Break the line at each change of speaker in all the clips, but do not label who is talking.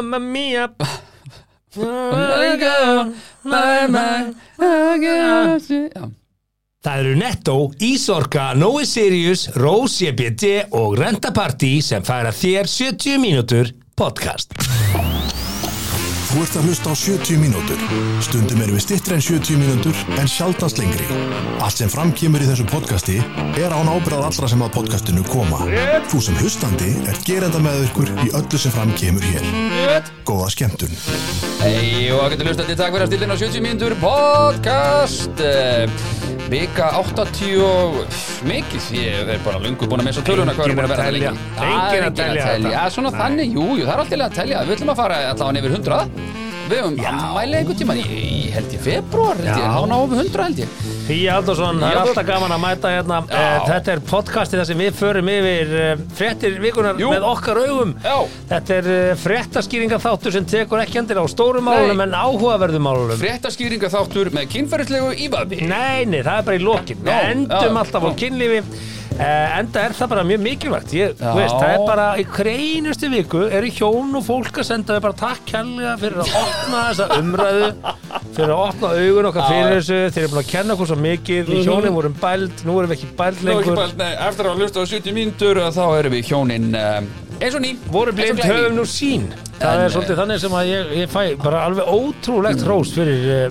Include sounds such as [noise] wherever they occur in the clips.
Mamma mia
Já.
Það eru Netto, Ísorka, Nói Sirius, Rose EBD og Renta Party sem færa þér 70 mínútur podcast.
Þú ert að hlusta á 70 mínútur. Stundum erum við stittri en 70 mínútur en sjaldast lengri. Allt sem framkýmur í þessu podcasti er án ábyrðað allra sem að podcastinu koma. Þú sem hlustandi er gerenda með ykkur í öllu sem framkýmur hér. Góða skemmtun.
Hei og að getur hlustandi takk fyrir að stillin á 70 mínútur podcast eh, Vika 80 og mikið ég er bara lungu búin að missa töluna hvað er
Enginn
búin að vera
að
það
telja.
lengi
Enginn
Það
að
er enginn
telja þetta.
Já, svona þannig, jú, jú, það er alltaf að telja Við ætlum að fara allavega yfir 100 Við höfum ammæli einhvern tíma í, ég held ég, februar held ég,
Já.
þá náum við 100 held ég
Pía Aldarsson, það er
Já.
alltaf gaman að mæta hérna
Já.
Eh, Þetta er podcastið þar sem við förum yfir eh, fréttir vikunar
Jú.
með okkar augum
Já.
Þetta er fréttaskýringa þáttur sem tekur ekki endur á stórum málum en áhugaverðum málum
Fréttaskýringa þáttur með kynferðislegu ívafi
Nei, nei, það er bara í lokin
Já,
Við endum
já,
alltaf á
já.
kynlífi eh, enda er það bara mjög mikilvægt Ég, þú
Já.
veist, það er bara í kreinustu viku eru hjón og fólk að senda þau bara takk kærlega fyrir að opna þessa umræðu fyrir að opna augun okkar fyrir þessu þeir eru búin að kenna okkur svo mikið við hjónum vorum bæld, nú erum við ekki bæld
Mhm. Nú, ekki
lengur
bara- nei, Eftir að hlusta á 70 mínútur þá erum við hjónin eh, eins og ný
voru
eins og
blind
glæný.
höfum nú sín það
En, eh, Mm.
er svolítið þannig sem að ég, ég fæ bara alveg ótrúlegt hrós fyrir eh,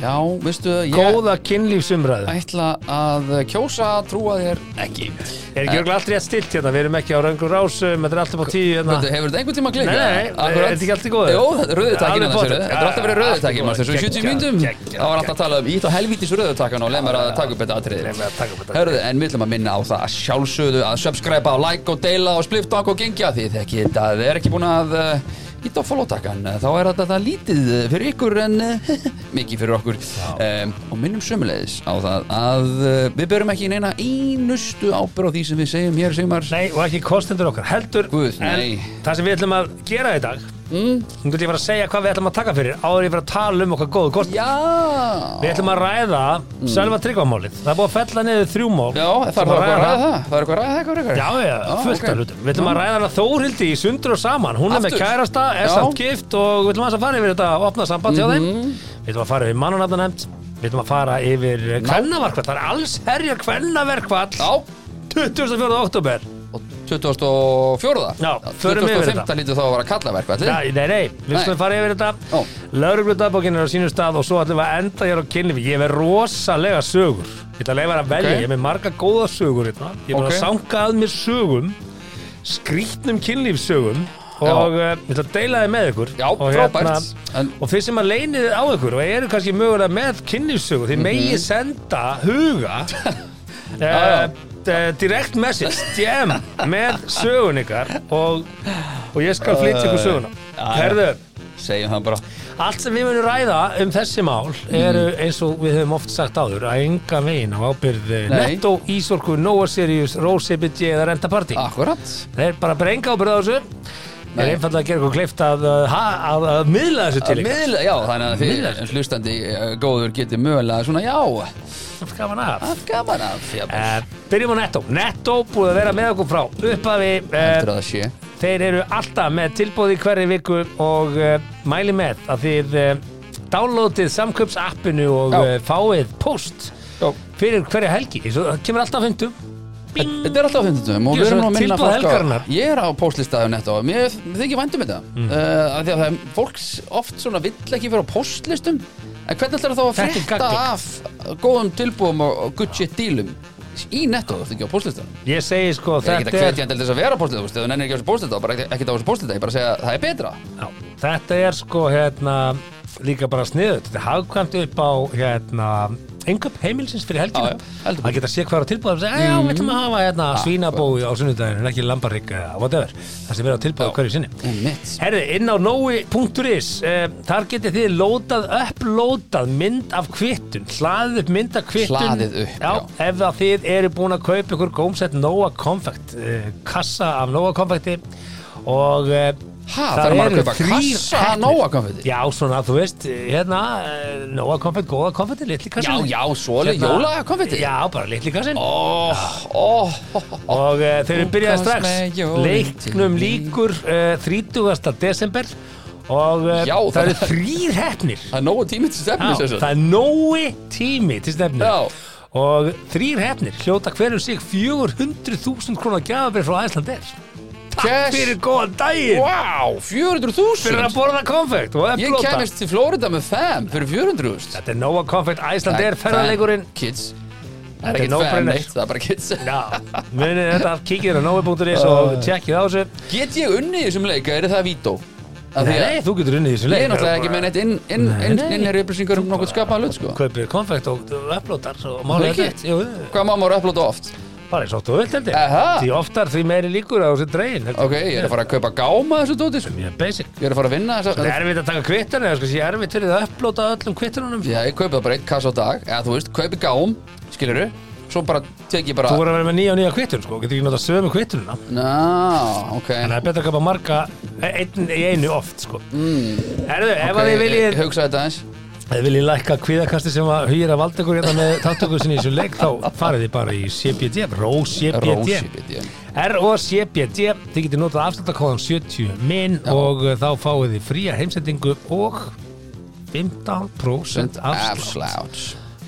Já, veistu, ég
góða kynlífsumræðu
ætla að kjósa að trúa þér ekki
er ekki örgulega allt rétt stilt hérna, við erum ekki á röngur rásum þetta er alltaf á tíu hérna
Veitu, Hefur þetta einhvern tíma
Nei,
klikkað?
nei, nei,
Akkurat.
er þetta ekki allt í góðu?
Jó, þetta er rauðutakkin
Alveg
annars,
pottet.
sérðu. Þetta er alltaf verið
Ja, allt í
rauðutakkin,
góðu.
maður, þessu
Geggjað,
70 myndum
geggjað,
Það var alltaf að tala um ít og helvítis rauðutakkan og leið maður að taka upp þetta
Leyfum
atriði
við að taka upp þetta
Hörðu, en við ætlum að minna á það að sjálfsögðu að subscribe og like og deila og spliftank og gengja því þekki þetta, þið er ekki búin að uh, ít og follow-takkan, þá er þetta það lítið eh, fyrir ykkur en uh, [laughs] mikið fyrir okkur um, og minnum sömulegis á það að uh, við berum ekki neina einustu ábyrð á því sem við segjum hér sem
Nei, og ekki kostendur okkar, heldur
Guð, nei.
En það sem við ætlum að gera í dag mm. Nú vil ég bara að segja hvað við ætlum að taka fyrir Áður en ég bara að tala um okkar góðu kostendur
Já
Við ætlum að ræða mm. selva tryggvamálið Það er búið að fella niður þrjú mál
Já, það
Ætlum
er eitthvað að ræða það Það er eitthvað að ræða það eitthvað
Já, já, fullt af hlutum Við ætlum að ræða hana Þórhildi í sundur og saman Hún er með
Aftur?
kærasta, er
Já. Mhm.
samt gift og við ætlum aðeins að fara yfir þetta opna samband hjá þeim Við ætlum að fara yfir mannunafnanemnd Við ætlum að fara yfir kvennaverkvall Það er alls herjar kvennaverkvall
Já,
24. oktober
og 2004
Já, förum yfir þetta.
2005 lítið þá að vera kallaverk ætli?
Nei, nei, nei, við
Nei.
skulum fara yfir þetta
Ó.
Lörglutabókin er á sínum stað og svo ætlum við að enda hér á kynlífi Ég hef með rosalega sögur Ég ætla að leifa þér að velja,
Ok.
ég hef með marga góða sögur hérna. Ég er búin
Ok.
að sanga að mér sögum Skrítnum kynlífsögum Og uh, ég ætla að deila þið með ykkur
Já,
og, hérna,
frábært En
og þið sem að leynið á ykkur Og eru kannski mögulega með kynlífsögur
Mhm.
Þið megi senda huga
já.
uh, uh, Direct message, DM Með sögun ykkar Og, og ég skal flytja ykkur söguna
já.
Herðu,
segjum það bara
Allt sem við munum ræða um þessi mál eru
Mm.
eins og við höfum oft sagt áður að enga veginn á ábyrð eh,
Nei.
Netto, Ísorku, Nóa Sirius, Rose EBG eða Renta Party.
Akkurat
Það er bara bara enga ábyrð á þessu. Það er
Ah. Nei.
einfallega að gera okkur kleift að, eh, ha- að, að miðla þessu til ykkar.
Miðla, já, þannig að
Miðlar.
þið hlustandi eh, góður getið mögulega svona, já,
Það er gaman af.
af gaman af já,
Eh, Byrjum á Netto. Netto búið að vera með okkur frá upphafi. eh,
eftir að það sé
Þeir eru alltaf með tilbúði hverju viku og uh, mæli með að þið uh, downloadið samköpsappinu og
Já.
uh, fáið post
Já.
fyrir hverja helgi. Svo, það kemur alltaf hundum.
Þetta er alltaf á fimmtudum og
Jú,
við erum
svo
nú að minna
tilboð helgarinnar.
fólk á Ég er á póstlistæðum netto og mér þykir vændum þetta mm. uh, Því að það er fólks oft svona vill ekki vera á póstlistum En hvernig ætlar þá að
Þetta er
frétta
gagnlegt.
af góðum tilbúðum og og good shit dílum Í netto, þú ert ekki á póstlistum
Ég segi sko
Ég er ekki
þetta
að
er,
hvetja hann til þess að vera á póstlistum Þú nennir ekki á þessu póstlistum, þá bara ekki- ekkert á þessu póstlistum Ég bara segja að það er betra
já, þetta er sko hérna líka bara sniðut. Þetta er hagkvæmt upp á hérna einhverjum heimilsins fyrir
Já,
helgina.
já, heldur
að geta sé hvað er á tilbúðum og segja, já, við ætlum að hafa hérna svínabói á sunnudaginu en ekki lambarrygg eða whatever. Það sem er á tilbúðu hverju sinni.
Mitt
Herði, inn á nói.is uh, Þar getið þið lótað, upplótað mynd af kvittun Hlaðið upp mynd af kvittun
Hlaðið upp,
já,
já.
Ef að þið eru búin að kaupa ykkur gómsett Nóa Konfekt uh, Kassa af Nóa Konfekti Og uh,
Ha, það er maður að kaupa kassa að nóa konfetti
Já, svona, þú veist, hérna uh, Nóa Konfekt, góða konfekti, litli
Já,
kassin
já, svoleið, jólakonfetti
Hérna- Já, bara litli kassin
Ó, ó, ó, ó.
og uh, þeir eru byrjaði
Hún komst með
strax
jólin
leiknum
til mín.
líkur uh, 30. desember og uh,
Já,
það,
það-
eru þrýr hefnir
Það er nógu tími til stefni sem
það
sagt.
er nói tími til stefni
Já.
og þrýr hefnir hljóta hverjum sig 400.000 krónar gjafabrið frá Æslandir
Yes.
fyrir góðan daginn
Wow, 400.000
fyrir að borða konfekt og
Ég
eflóta
kemist til Flórida með fam fyrir 400.000
þetta er nóa konfekt Æslandir ferðarleikurinn
Kids Það er
Þetta er
ekkert fam
no-brainer.
neitt, það er bara
[laughs]
kids
Já, munið þetta kikið á nói.is og tjekkið á þessu
Get ég unni í þessum leika, er það vító?
Nei, nei, þú getur unnið í þessu
Ég
leik
er náttúrulega ekki með neitt inn, inn, inn,
nei.
inn er upplýsingar um nokkuð skapaða hlut sko
Kaupir konfekt og upplótar og málega
Ekki?
þetta Jú,
Hvað má maður upplota oft?
bara eins og þú vilt heldur
Aha.
Því oftar því meiri líkur á þessu dregin
Ok, ég er að fara að kaupa gáma þessu dóti sko
Mjög basic
Ég er að fara að vinna
Það
þess
er erfitt að taka kvittan eða sko sé erfitt fyrir það að upplóta öllum kvittunum
Já, ég kaupi það bara eitt kassa á dag Eða þú veist, kaupi gám, skilurðu Svo bara tek ég bara
Þú voru að vera með nýja og nýja kvittun sko Getur ekki notað sömu kvittununa
Ná, ok
En það er betra að kapa marga e, einn í einu oft sko
Mm.
Erðu, ef að þið viljið
Ég hugsa þetta eins
Ef þið viljið lækka kvíðakasti sem að hugir að valda ykkur hérna með þáttökur sinni í þessu leik þá farið þið bara í CBD, ROCBD
Rósi,
ROCBD, þið getið notað afslutakóðan 70 minn og uh, þá fáið þið fría heimsendingu og 15% afslut
afslátt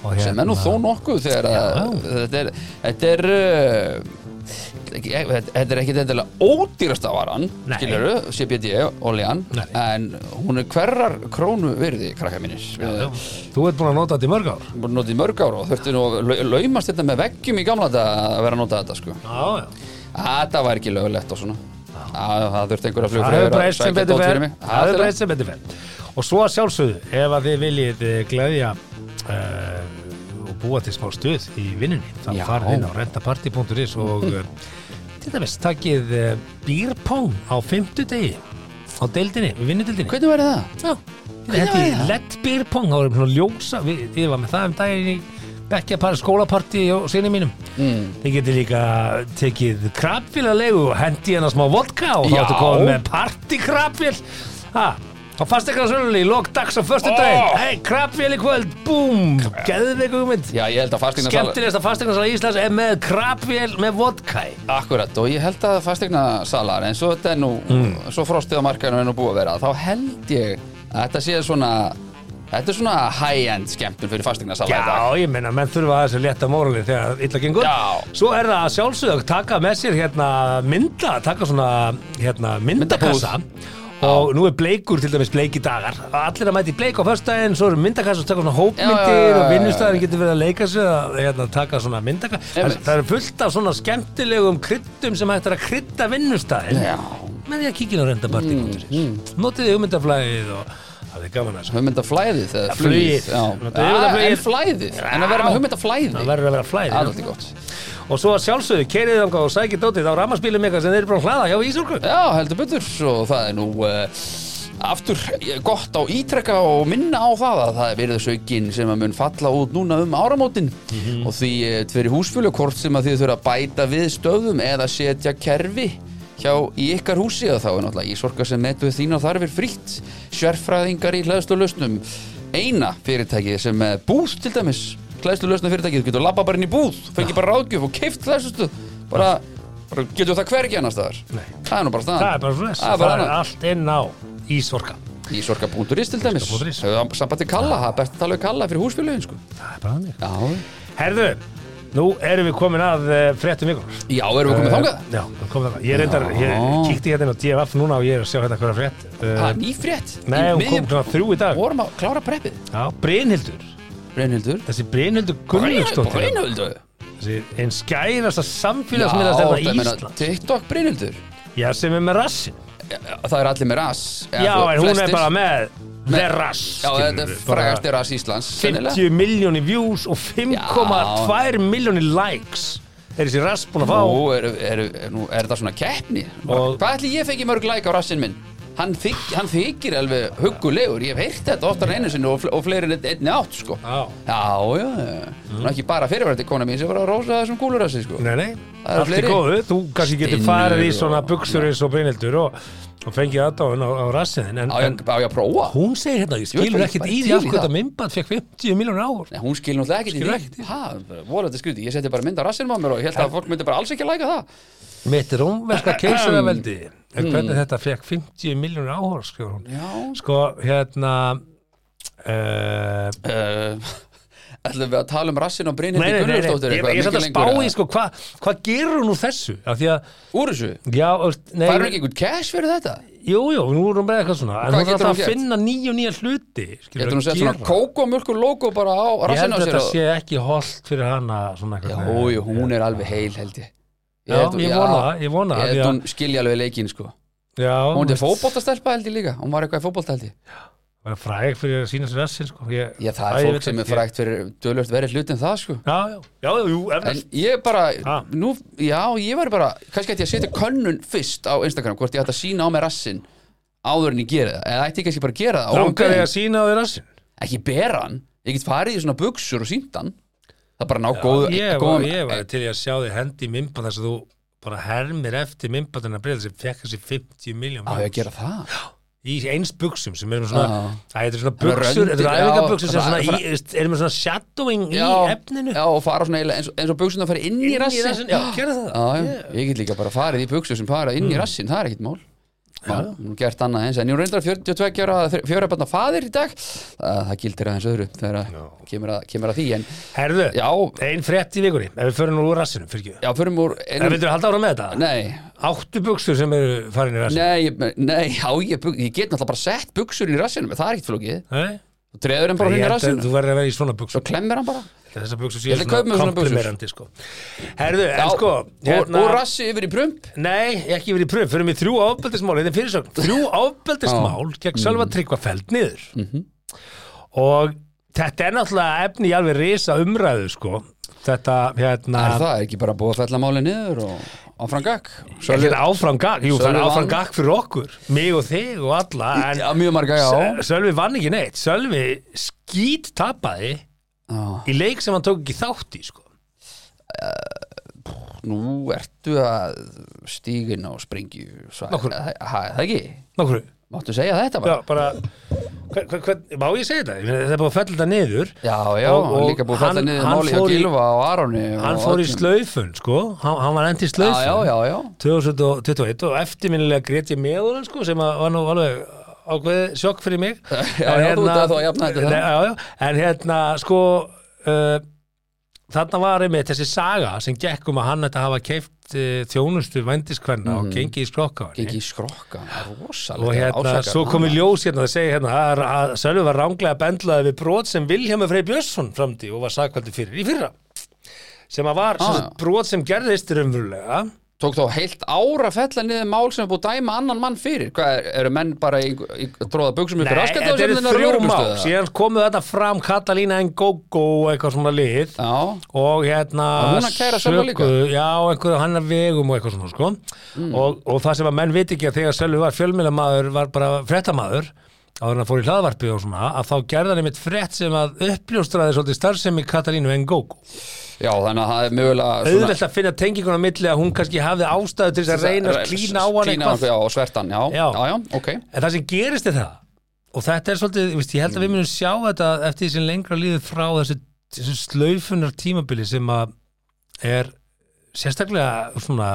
Og hérna-
sem er nú þó nokkuð þegar að
Já.
þetta er þetta er uh, ekki- eh, þetta þetta er ekkit endilega ódýrasta varan
Nei.
skiluru, CBD, oljan
Nei.
en hún er hverrar krónu virði krakka mínir
Já, Þú ert búin að nota þetta í mörg ár
bara notið í mörg ára og þurfti nú að lau- laumast þetta með veggjum í gamla þetta að vera að nota þetta sko Ah,
Já, já
þetta var ekki lögulegt og svona Að, það þurfti einhverja
Það
flugfræður
hefur breyst sem betur fer Það hefur breyst sem betur fer Og svo að sjálfsögðu, ef að þið viljið eh, gleðja uh, og búa til smá stuð í vinnunni þá
Já.
farið inn á rentaparty.is og eh, til dæmis takið uh, býrpóng á fimmtudegi á deildinni, við vinnudildinni
hvernig væri það?
Já,
Hvernig
þetta
væri
er
það?
lett býrpong, það var um svona ljósa við, ég var með það um daginn í bekkjapar skólaparti og sinni mínum mm. þið getur líka tekið krabfélaglegu og hendi hennar smá vodka og þá
Já.
ertu komið með partikrabfél ha, á fastegna sölunni í lok dags á förstu
Ó.
daginn hei, krabfél í kvöld, búm geðveikum mynd
Já, ég held að fastegna
skemmtilegasta fastegna í Íslands er með krabfél með vodka í.
Akkurat og ég held að fastegna salar eins og þetta er nú
Mm.
svo frostið á markaðinu er nú búið að vera þá held ég að þetta sé svona þetta er svona high-end skemmtun fyrir fastegna salar
Já, ég meina, menn þurfa aðeins að létta móralin þegar illa gengur.
Já.
Svo er það að sjálfsögðu að taka með sér hérna mynda, taka svona hérna myndakassa. Og nú er bleikur til dæmis bleiki dagar. Allir að mæti bleik á föstudaginn, svo eru myndakassa og taka svona
Já, já, já,
hópmyndir
já,
og
já.
vinnustæðin getur verið að leika sig að hérna, taka svona myndakassa. Það,
Einmitt.
það eru fullt af svona skemmtilegum kryddum sem hægt er að krydda vinnustæðin.
Já.
Með því að kíkja inn á rendapartíkundurir. Mm, mm. Notið hugmyndaflæðið og það er gaman að þessu.
Hugmyndaflæðið eða flugið
flugið.
Já.
Þetta er
Ah,
hugmyndaflugið.
En flæðið En að vera með hugmyndaflæði
Það verður að vera flæðið.
Allt er gott
Og svo að sjálfsögðu, keiriði þangað og sækið dótið á rammarspílum eitthvað sem þeir eru búin að hlaða hjá Ísorku.
Já, heldur betur og það er nú uh, aftur eh, gott á ítrekka og minna á það að það er virðisaukin sem að mun falla út núna um áramótin og því eh, tveri húsfjölukort sem að þið þurfa að bæta við stöðum eða setja kerfi hjá í ykkar húsi að þá er náttúrulega ísorka sem netu þína þarfir fritt sérfræðingar í hlæðslu lausnum eina fyrirtæki sem er búð til dæmis hlæðslu lausna fyrirtæki þú getur labba bara inn í búð, fengi bara ráðgjöf og keift hlæðslu bara, bara getur það hvergi annars staðar
Nei.
það er nú bara staðan
Það er bara svona þess.
Það er bara
Það er
annað.
allt inn á Ísorka.
Í sorka.is til dæmis
Sorka.is.
Hefur Sambandi Kalla, það er best að tala við Kalla fyrir húsfélögin sko.
Það er bara þannig.
Já,
Herðu, nú erum við komin að uh, fréttum ykkur.
já erum við
Eh,
komið þangað?
Já, við komum þangað. Ég reyndar, ég
Já.
kíkti hérna inn á DFF núna og ég er að sjá hérna hverja frétt.
Það
Uh,
er nýfrétt
nei,
Í
hún
miðjum-
kom svona þrjú í dag.
Vorum að klára preppið
Já, Brynhildur.
Brynhildur
Þessi Brynhildur Gunnlaugsdóttir.
Brynhildur
Þessi einn skærasta samfélagsmiðla sem
Já,
er
meina,
Ísland.
TikTok Brynhildur
Já, sem er með rassin.
Já, Það er allir með ras eða
Já,
þú-
en hún er
flestir.
bara með The Rass.
Já, þetta er
skilurðu, bara-
frægast er ras Íslands sennilega.
50 miljóni views og 5,2 miljóni likes er þessi rast búin að fá
Nú er, er, er, nú er þetta svona keppni
Og-
Hvað ætli ég fengi mörg læk á rassin minn? Hann, þyk, hann þykir alveg huggulegur Ég hef heyrt þetta oftar einu sinni og, fle og fleiri en einn- einni átt sko
Já.
já, já, já. Hún er ekki bara fyrirverandi kona mín sem var að rósa þessum gúlurassi sko
Nei, nei,
Það eru
allt í
fleiri.
góðu Þú kannski getur
Stynur
farið í svona
og-
buksur eins og brynildur og, og fengið aðdáðun á, á rassiðin en,
Á ég
en
á ég að prófa? Hún,
hún segir hérna, ég
Ég vil
skilur
bara
ekkert
ekki
í því
til
af
í
hverju
það.
þetta myndband fekk 50 miljónir áhur
Nei, hún skilur náttúrulega ekkert
Skilur
í
ekkert
því Hæ, voru þetta skruti, ég setti bara mynd á rassinn á mér og ég held að fólk myndi bara alls ekki að læka það [clears throat]
Mitt rómverska keisaraveldi en hvernig þetta fekk 50 miljónir áhóra skrifur hún
Mm. Já
sko hérna uh,
uh, [laughs] Ætlum við að tala um rassin og
nei,
Brynhildi
nei, nei, nei,
Gunnarsdóttir
ég, ég satt að spá í sko, hva- hvað gerur hún úr þessu af því að,
Úr þessu
já, öst, nei,
Færðu ekki einhvern cash fyrir þetta?
jú, jú, nú erum við eitthvað svona en
Hvað
hún er
getur
alltaf
hún
að
gert?
finna nýja og nýja hluti skilur,
Getur hún sett svona kókomölkur logo bara á
ég held
rassinu á
að
sér
þetta
og-
sé ekki holdt fyrir hana svona
Já,
eitthvað
jú, hún er alveg heil held ég
já,
held-
ég vona það, ég vona það
Ég held
því að-
hún skilja alveg leikinn sko
já,
Hún er
veist,
fótboltastelpa held ég líka Hún var eitthvað í fótbolta held ég
hún er fræg fyrir að sína sér vessin sko. ég,
Já, það
Æ,
er
ég
fólk
veit
sem er
ekki.
frægt fyrir Dölvöld verið hlut en það sko
já, já, já, jú,
En
efnast
ég bara,
Ha.
nú, já, ég var bara Kannski ætti ég að setja könnun fyrst á Instagram Hvort ég ætti að sína á mig rassin Áður en ég gera það, eða ætti ég kannski bara að gera það
langar ég
óbeint.
að sína á þér vessin
Ekki bera hann, ég get farið í svona buksur og sínt hann Það er bara ná góðu
ég, var,
góðum-
ég var til í að sjá þig hendi í mymba þess að þú bara hermir eftir mymbandina breyða sem fekk þessi 50 miljón
Á, ég að gera það
í eins buksum sem erum svona
Já.
Æ, þetta er svona
Svona
buksur, þetta
röndir,
er æfinga buksur sem
já,
svona
fra-
í, veist, erum við svona shadowing
já,
í efninu
já, og fara svona eiginlega eins, og- eins og buksuna fara inn í
Inn í
rassin
rassinn, já, gerðu það. Mm.
já, já, ég get líka bara farið í buksu sem fara inn í rassin, það er ekkit mál Já, nú gert annað eins en ég er reyndar 42 ára fjörabarna faðir í dag það, það gildir aðeins öðru þegar að kemur, að, kemur að því en
herðu,
já,
ein frétt í vikunni ef við förum nú úr rassinum, fyrir ekki
já, förum úr
en
einum,
vildur halda ára með þetta?
nei,
áttu buksur sem eru farin í rassin?
nei, ég- nei já, ég, bu- ég get náttúrulega bara sett buksur inn í rassinum það er ekkit flókið,
Nei?
þú treður hann bara
Ég
inn í
held að
rassinum
þú verður að vera í svona buksur
svo klemmir hann bara
þessar buksur
Ég
séu
ætla að
svona
kaupa mér svona buxur.
komplimerandi sko. herðu,
já,
en sko
og, og rassi yfir í prump
Nei, ekki verið í pröf, fyrir mig þrjú ábeldismál þetta er fyrirsögn, þrjú ábeldismál gegn Sölva
Mm.
Tryggva fæld niður
Mhm.
og þetta er náttúrulega efni í alveg risa umræðu sko, þetta
er
hérna
það er ekki bara búið að fella máli niður og áfram gakk
Sölvi, þetta áfram gag, jú það er
Sölvi
áfram
vann.
gag fyrir okkur mig og þig og alla en
já, mjög marga já,
S- Sölvi vann ekki neitt, Sölvi skít tapaði
já.
í leik sem hann tók ekki þátt í sko
nú ertu að stígin á springju svæð
Nokkur.
það það ekki,
Nókru,
máttu segja þetta bara
já bara hver, hver, hver, má ég segja þetta? Ég meina, Þetta er búið að fella þetta niður
já, já,
Og-
og,
og
líka búið að falla
hann-
niður
hann
máli hjá
fór í-
Gilva og Aroni
hann
og
fór í
öllum.
slaufun sko, hann, hann var endið í
já, já,
slaufun
já, já,
2021 og eftirminnilega grét ég með honum sko, sem að var nú alveg ákveðið sjokk fyrir mig
[laughs] já,
En
já, þú ert að þá að jafna þetta
Nei,
það.
já, já, en hérna sko uh, þarna var einmitt þessi saga sem gekk um að hann ætti að hafa keift uh, þjónustu vendiskvenna
Mhm.
og gengið í skrokka á henni.
gengi í skrokka, það er
og
rosalega
hérna, svo kom í ljós hérna það segir hérna að, að Sölvi var ránglega bendlaði við brot sem Vilhjámi Frey Björnsson framdi og var sakvældi fyrir í fyrra sem að var ah,
já.
brot sem gerðist raunverulega
tók þá heilt ára að fella niður mál sem er búið að dæma annan mann fyrir hvað er, eru menn bara í, í, að tróða buksum ykkur
Nei,
raskat
þetta hérna eru þrjú mál síðan komu þetta fram Katalína Ngogo og eitthvað svona lið
já,
og hérna
Var hún að kæra Sölva líka? Mm.
sökuðu- já, einhverju hann er vegum og eitthvað svona sko. og, og það sem að menn viti ekki að þegar Sölvi var fjölmiðlamaður var bara fréttamaður áður en að fór í hlaðvarpi og svona að þá gerði hann einmitt frétt sem að uppljóstraði svolítið starfsemi Katalínu Ngogo
já, þannig að það er mögulega svona-
auðvelt að finna tenginguna á milli að hún kannski hafði ástæðu til þess að reyna að klína á hann
Klína
eitthvað
já, og svertan, já,
Já.
já, já, ok
En það sem gerist er það og þetta er svolítið, ég, veist, ég held
Mm.
að við munum sjá þetta eftir því sem lengra líður frá þessu, þessu slaufunar tímabili sem að er sérstaklega svona,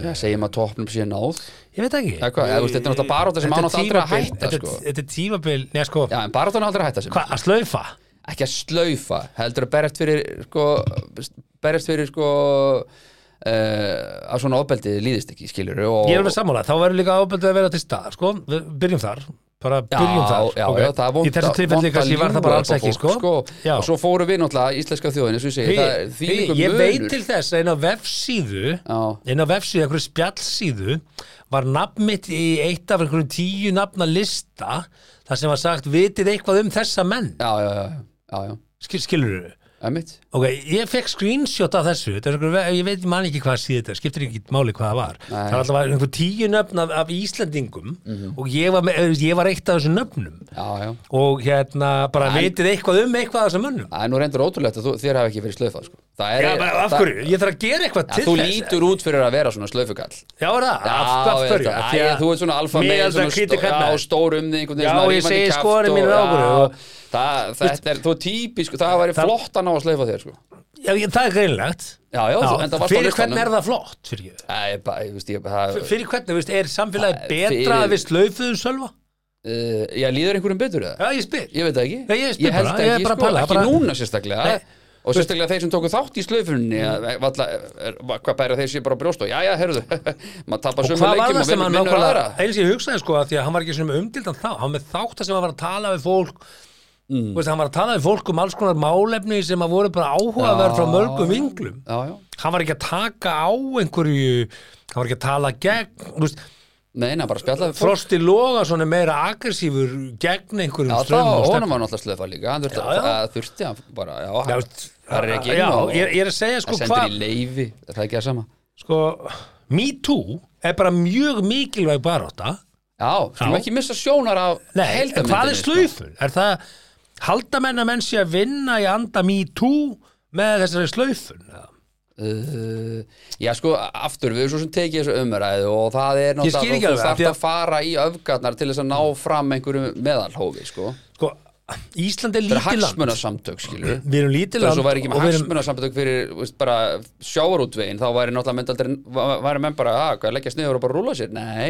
Já, segjum að toppnum sé náð
ég veit ekki
Eða hvað, eða, þú veist, þetta er náttúrulega barátta sem á
Þetta er
náttúrulega aldrei að
tímabil-
hætta,
þetta,
sko.
þetta er tímabil, neða sko
Já, en baráttan er aldrei að hætta sem
hvað, að slaufa?
Ekki að slaufa, heldur að berjast fyrir sko, berjast fyrir sko uh, að svona ofbeldi líðist ekki, skilur og,
Ég er alveg sammála, þá verður líka ábældið að vera til stað sko, við byrjum þar bara byrjum
Já,
þar
já,
um ok?
já, það er vond
Í þessu
að-
tilfelli
vond að
kannski var það bara
ljúga
alls
upp á
ekki
fólk,
sko. Já.
Og svo fórum við náttúrulega íslenska þjóðin eins og ég segi, það er því
Hugi,
líka
ég
munur
veit til þess að einn á vefsíðu
Já.
einn á vefsíðu, einhverju spjallsíðu var nafn mitt í eitt af einhverjum tíu nafna lista þar sem var sagt, vitið eitthvað um þessa menn
Já, já, já, já, já,
Skil, skilur þau?
emmitt
Ok, ég fekk screenshot af þessu þetta er einhver, ve- ég veit, ég man ekki hvað síðu þetta skiptir ekki máli hvað það var
Mhm.
það var alltaf einhver tíu nöfn af, af Íslendingum og ég var, með, ég var eh, eitt af þessum nöfnum
já, já
og hérna bara
Æ.
vitið eitthvað um eitthvað af þessum mönnum
Það er nú reyndur ótrúlegt að þú, þér hafi ekki verið slöfað sko. Það er,
Já, bara, af hverju? Ég þarf að gera eitthvað
Það,
til
þú
þess
lítur út fyrir að vera svona slöfugall
Já, er það, af, af
ég
hverju
veit það. Æ, Þú ert svona alfa
Mér
með
er það kvíti
Já,
kallar
stór um þig einhvern veginn,
Já,
svona
ég
rífandi
segi
kjaft
skorin
og-
mín er ákvörðu
Já,
og-
það- Þetta er, þú er típisk Það væri
Það-
flott að ná að slöfa þér sko.
Já, ég- það er greinlegt
Já, já, þú- en það varst á
Fyrir
listanum.
hvern er það flott, fyrir ég
Æ, ég bara, ég veist, ég bara það-
Fyrir hvern, þú veist, er samfélagi
Það er
betra
fyrir-
að við slaufuðum sölva?
Uh, Já, líður einhverjum betur eða?
Já, ég spyr
Ég veit það ekki
Nei, ég spyr
held
bara,
ekki,
ég er bara að
sko,
pæla,
Ekki
bara-
núna sérstaklega
Nei. Mm.
Og sérstaklega þeir sem tóku þátt í slöfunni Hvað bæra þeir sé bara á brjóst og Jæja, heyrðu, [laughs] maður tapar
Og
sömu
hvað var
leikjum
það
og
sem
vinnur
hann
vinnur aðra
nákvæmlega Eins og ég hugsaði sko að því að hann var ekki svona umdildan þá Hann var með þátt sem hann var að tala við fólk mm. veist, Hann var að tala við fólk um alls konar málefni sem að voru bara áhugaverð frá mörgum vinglum
Já, já,
Hann var ekki að taka á einhverju Hann var ekki að tala gegn þú veist,
neina, bara spjalla við fólk
Frosti Loga svona meira aggressífur gegn einhverjum
Já, þá,
straumum og
honum
stefnum.
var náttúrulega slöfa líka hann þurfti,
Já, já.
að- þurfti hann bara, já,
Já,
hann
veist,
það er ekki
já,
inn og
ég, ég er að segja sko
það sendir
hvað
í leifi, er það ekki að sama
sko, Me Too er bara mjög mikilvæg baróta
Já, skulum
Já.
ekki missa sjónar af
Nei, en
heildarmyndinni,
hvað er
sko.
slaufur? Er það, halda menn að menn sé að vinna í anda me too með þessari slaufun? eða?
Uh, já sko, aftur, við erum svo sem tekið þessu umræðu og það er
skil ekki
náttúrulega
alveg,
þú
af
þarf
því
að fara í öfgarnar til þess að ná fram einhverju meðalhófi, sko
Sko, Ísland er
Það er
lítið land.
hagsmunasamtök, skilur
Við erum lítið
Þess
land
að væri ekki með
og við erum-
hagsmunasamtök fyrir veist, bara sjávarútvegin þá væri náttúrulega myndaldri væri menn bara að hvað leggja sniður og bara rúla sér Nei,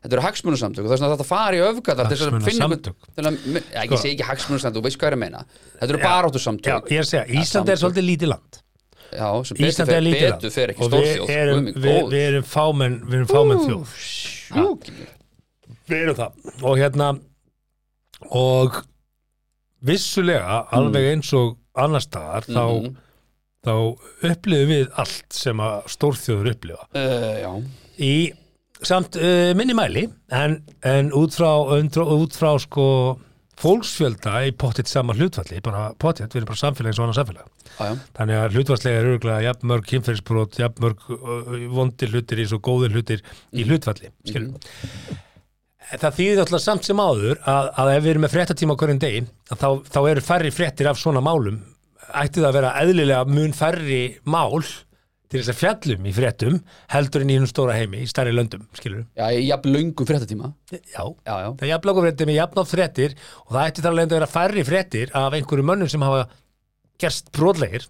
þetta eru hagsmunasamtök og þess að þetta fari í öfgarnar til þess að finna einhvern-
Hagsmunasamtök.
til að, ja,
Sko.
Ég segi ekki hagsmunasamtök, þú veist hvað ég er að meina Þetta eru baráttusamtök
Já, ég er að segja, Ísland er svolítið lítið land.
Já, sem betur
Ísland er
fer,
lítið land.
betur fer ekki
Og
stórþjóð
Við erum,
guð minn
við,
góður.
við erum fámenn, við erum fámenn þjóð.
Sjúkir.
Við erum það. Og hérna, og vissulega, alveg
Mm.
eins og annar staðar,
Mhm.
þá, þá upplifum við allt sem að stórþjóður upplifa.
Uh, já,
í samt uh, minni mæli en, en út frá, undra, út frá sko fólksfjölda í pottitt sama hlutfalli bara pottitt, við erum bara samfélag eins og annað samfélag
já, já,
þannig að hlutfallslega er örgulega jafnmörg kynferðisbrot, jafnmörg uh, vondir hlutir í svo góðir hlutir í hlutfalli skilur það þýðir náttúrulega samt sem áður að, að ef við erum með fréttatíma á hverjum degi að þá, þá eru færri fréttir af svona málum ætti það að vera eðlilega mun færri mál til þess að fjallum í fréttum heldur en í hinn stóra heimi, í stærri löndum skilur,
já, ég jafn löngum fréttatíma
já
Já, já,
það er jafnlöku fréttir með jafnátt fréttir og það ætti þar að leiðin að vera færri fréttir af einhverjum mönnum sem hafa gerst brotlegir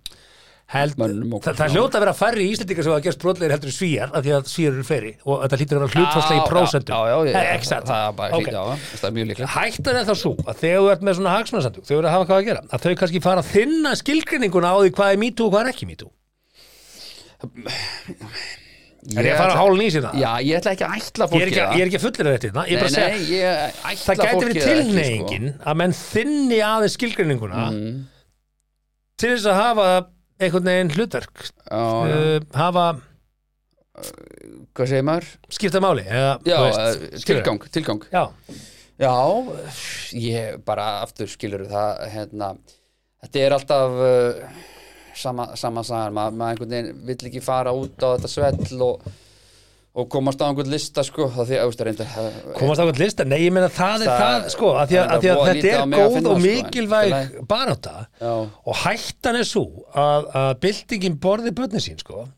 held,
Mönnum og-
það, það hljóta að vera færri íslendingar sem hafa gerst brotlegir heldur en svíjar af því að svíjar eru fleiri og þetta hlýtur að vera hlutfastlega í prósentum
Já, já, já,
Nei,
já
ekki
það,
satt.
það er bara
Ok.
okay. já, já, það er mjög líklegt
Hættan er þá svo að þegar þú ert með svona hagsmunarsamtök, þau eru að hafa hvað að gera, að þau kannski fara að þinna skilgreininguna á því hvað er mýtu og hvað er ekki mýtu. Er ég að fara
ætla-
hálun í sína?
Já, ég ætla ekki að
Ég
ætla
er
fólki
ekki, ég er ekki fullir af þetta, hérna, ég er bara að
Nei,
segja,
nei, ég ætla
það gæti
fólki
verið
það ekki, sko.
tilneyingin að menn þinni aðeins skilgreininguna
Mm.
til þess að hafa einhvern veginn hlutverk,
sko. já, já.
uh, hafa
Hvað segir maður?
skipta máli, eða,
Já,
þú
eh,
skilurðu?
tilgang, tilgang
Já,
Já, ég bara aftur skilur það hérna, Þetta er alltaf uh, sama, sama sagan Ma, maður einhvern veginn vill ekki fara út á þetta svell og, og komast á einhvern lista sko, það því að auðvitað reynda
komast á hvern lista, nei ég meina það er
Það-
það, sko, að því að,
það er
að, því að
voða
þetta
lítið á
er
mig að
góð
finna,
og
sko, en-
mikilvæg
Til
baráta
Já.
og hættan er svo að, að byltingin borði börnin sín sko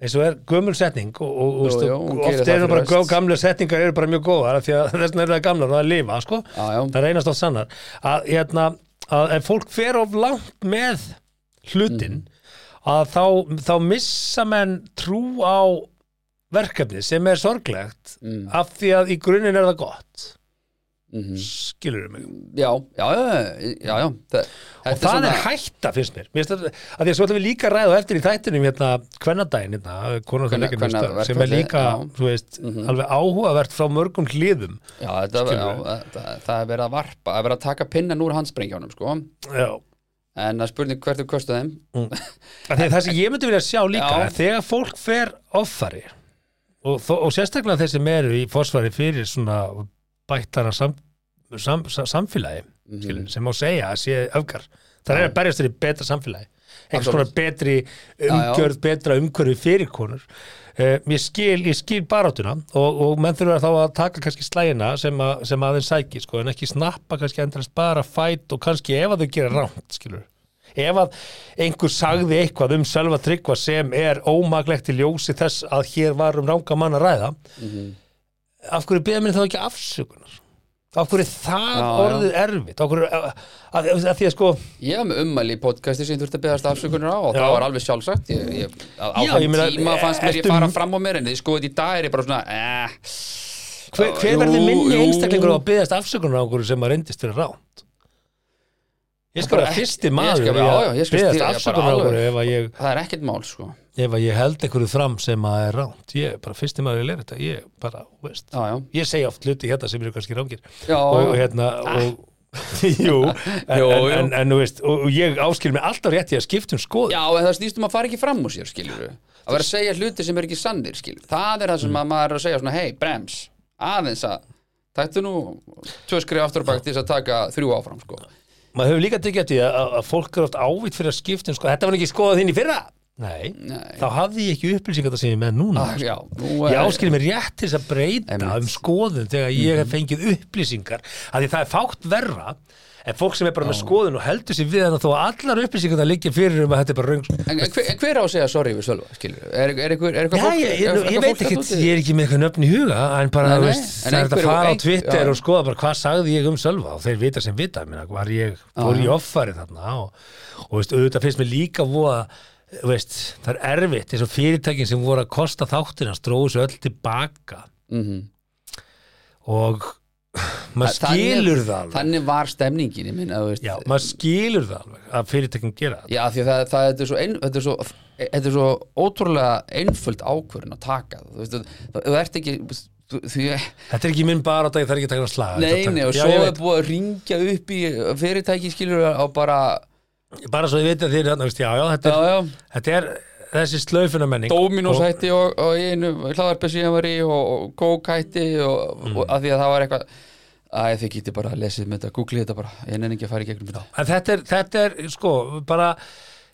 eins og er gömul setning og, og, og,
Jú, jú,
og
hún gerir
oft
það
eru bara
fyrir
gó,
vest.
gamlu setningar eru bara mjög góðar af því að [laughs] þessna eru það gamlar og það lifa sko
Já, já.
það reynast oft sannar að, hérna, að ef fólk fer of langt með hlutin
Mhm.
að þá, þá missa menn trú á verkefni sem er sorglegt af því að í grunninn er það gott
mm
skilur mig
já, já, já, já, já. Þa,
og það er hætta finnst mér, mér stöð, að því að svo ætlum við líka að ræða á eftir í þættinum hérna kvennadaginn hérna, konar
Kvenna-
það ekki störf sem er
kvennaverkfallið,
líka,
já. Mhm.
þú veist, alveg áhugavert frá mörgum hliðum
já, þetta, já, það, það er verið að varpa það er verið að taka pinnan úr handsprengjónum sko.
já.
en að spurning hvert þú kostu þeim
Af því að það sem ég myndi vilja sjá líka
Já.
er þegar fólk fer offari og, þó- og sérstaklega þeir sem eru í forsvari fyrir svona bættara sam, sam, sam, samfélagi
Mhm.
skilur, sem má segja að sé öfgar það er að berjast þeir í betra samfélagi einhvers konar betri umgjörð, betra umhverfi fyrir konur Eh, ég skil, ég skil baráttuna og, og menn þurfa þá að taka kannski slægina sem, að, sem aðeins sækir sko, en ekki snappa kannski endalist bara fætt og kannski ef að þau gera rámt skilur ef að einhver sagði eitthvað um Sölva Tryggva sem er ómaglegt í ljósi þess að hér var um ranga mann að ræða
Mhm.
af hverju beða mér þá ekki afsökunar af hverju er það
Já, já.
orðið erfitt af hverju, að, að, að því að sko
Ég var með ummæli í podcasti sem ég þurfti að beðast afsökunar á og
Já.
það var alveg sjálfsagt ég, ég, á
Já,
já,
ég
þeim
meina, eh,
tíma fannst mér ég
ertu-
fara fram á mér en þið skoðið í dag er ég bara svona eh,
hver, hver
Jú,
verður minni
jú.
einstaklingur á að byggast afsökunar á einhverju sem að reyndist fyrir ránt ég skal vera
Bara
fyrsti
ekki-
maður
ég skal bara- já, já, ég skal
byggast
styðja bara
afsökunar á
alveg.
einhverju ef að ég,
það er ekkert mál sko
ef að ég held einhverju fram sem að er ránt ég er bara fyrsti maður að lera þetta ég bara, veist
Já, já,
ég segja oft hluti hérna sem eru kannski rángir
já,
og
já.
hérna og [laughs]
[laughs]
Jú, en,
Jú, jú.
en, en, en þú veist, og og ég áskil mig alltaf rétt í að skipta um skoð
já en það snýstum að fara ekki fram úr sér skilur að vera að segja hluti sem er ekki sannir skilur það er það
Mm.
sem að maður er að segja svona hei, brems, aðeins að tættu nú tvö skrif aftur bakt til þess að taka þrjú áfram sko
Maður hefur líka tekið eftir því að, að- að fólk er oft ávitt fyrir að skipta um skoð Þetta var ekki skoðað þín í fyrra Nei,
Nei.
þá hafði ég ekki upplýsingar það sem ég er með núna
ah, já, nú
Ég
er-
áskil mér rétt til þess að breyta
Einmitt. Mhm.
um skoðun þegar ég hef fengið upplýsingar að því það er fátt verra en fólk sem er bara með skoðun og heldur sér við þannig þó að allar upplýsingar það liggja fyrir um að þetta er bara röng
En, en, hver, en hver á að segja sorry við Sölva, skilur? Er, er, einhver- er eitthvað
Já,
fólk-
ég, ég,
er
nú-
eitthvað
ég veit
fólk
ekkert,
þarna úti?
ég er ekki með eitthvað nöfn í huga en bara,
Nei,
þú
nei,
veist,
en
það er þetta að
einhverju-
fara á
ein-
Twitter
já.
og skoða bara hvað sagði ég um Sölva og þeir vita sem vita, minna, var ég fór í offarið þarna og, og veist, auðvitað finnst mér líka voða þú veist, það er erfitt, eins og fyrirtækin sem voru að kosta þáttina stróðu svo öll tilbaka
Mhm.
og maður
Þa- þannig-
skilur það alveg
Þannig var stemningin, ég minna, þú veist
Já, maður skilur það alveg að fyrirtækin gera það
Já, því að það, það þetta er svo, ein, þetta er svo þetta er svo ótrúlega einföld ákvörðin að taka þú veist, þú- þú ert ekki þú- því,
Þetta er ekki minn bara á dag, það er ekki að taka að slaga Þetta-
neini og
Já,
svo
ég
er
veit.
búið að ringja upp í fyrirtæki skilur á bara
Bara svo ég veit að þið er þarna, veist, já, já, þetta
já,
er,
já,
þetta er þessi slöfuna menning
Dominos hætti og, og í einu hlaðarpið síðan var í og, og Coke hætti og,
Mm.
og að því að það var eitthvað Æ, þið getið bara lesið með þetta, googlið þetta bara ég nenni ekki að fara í gegnum þetta
En þetta er, þetta er, sko, bara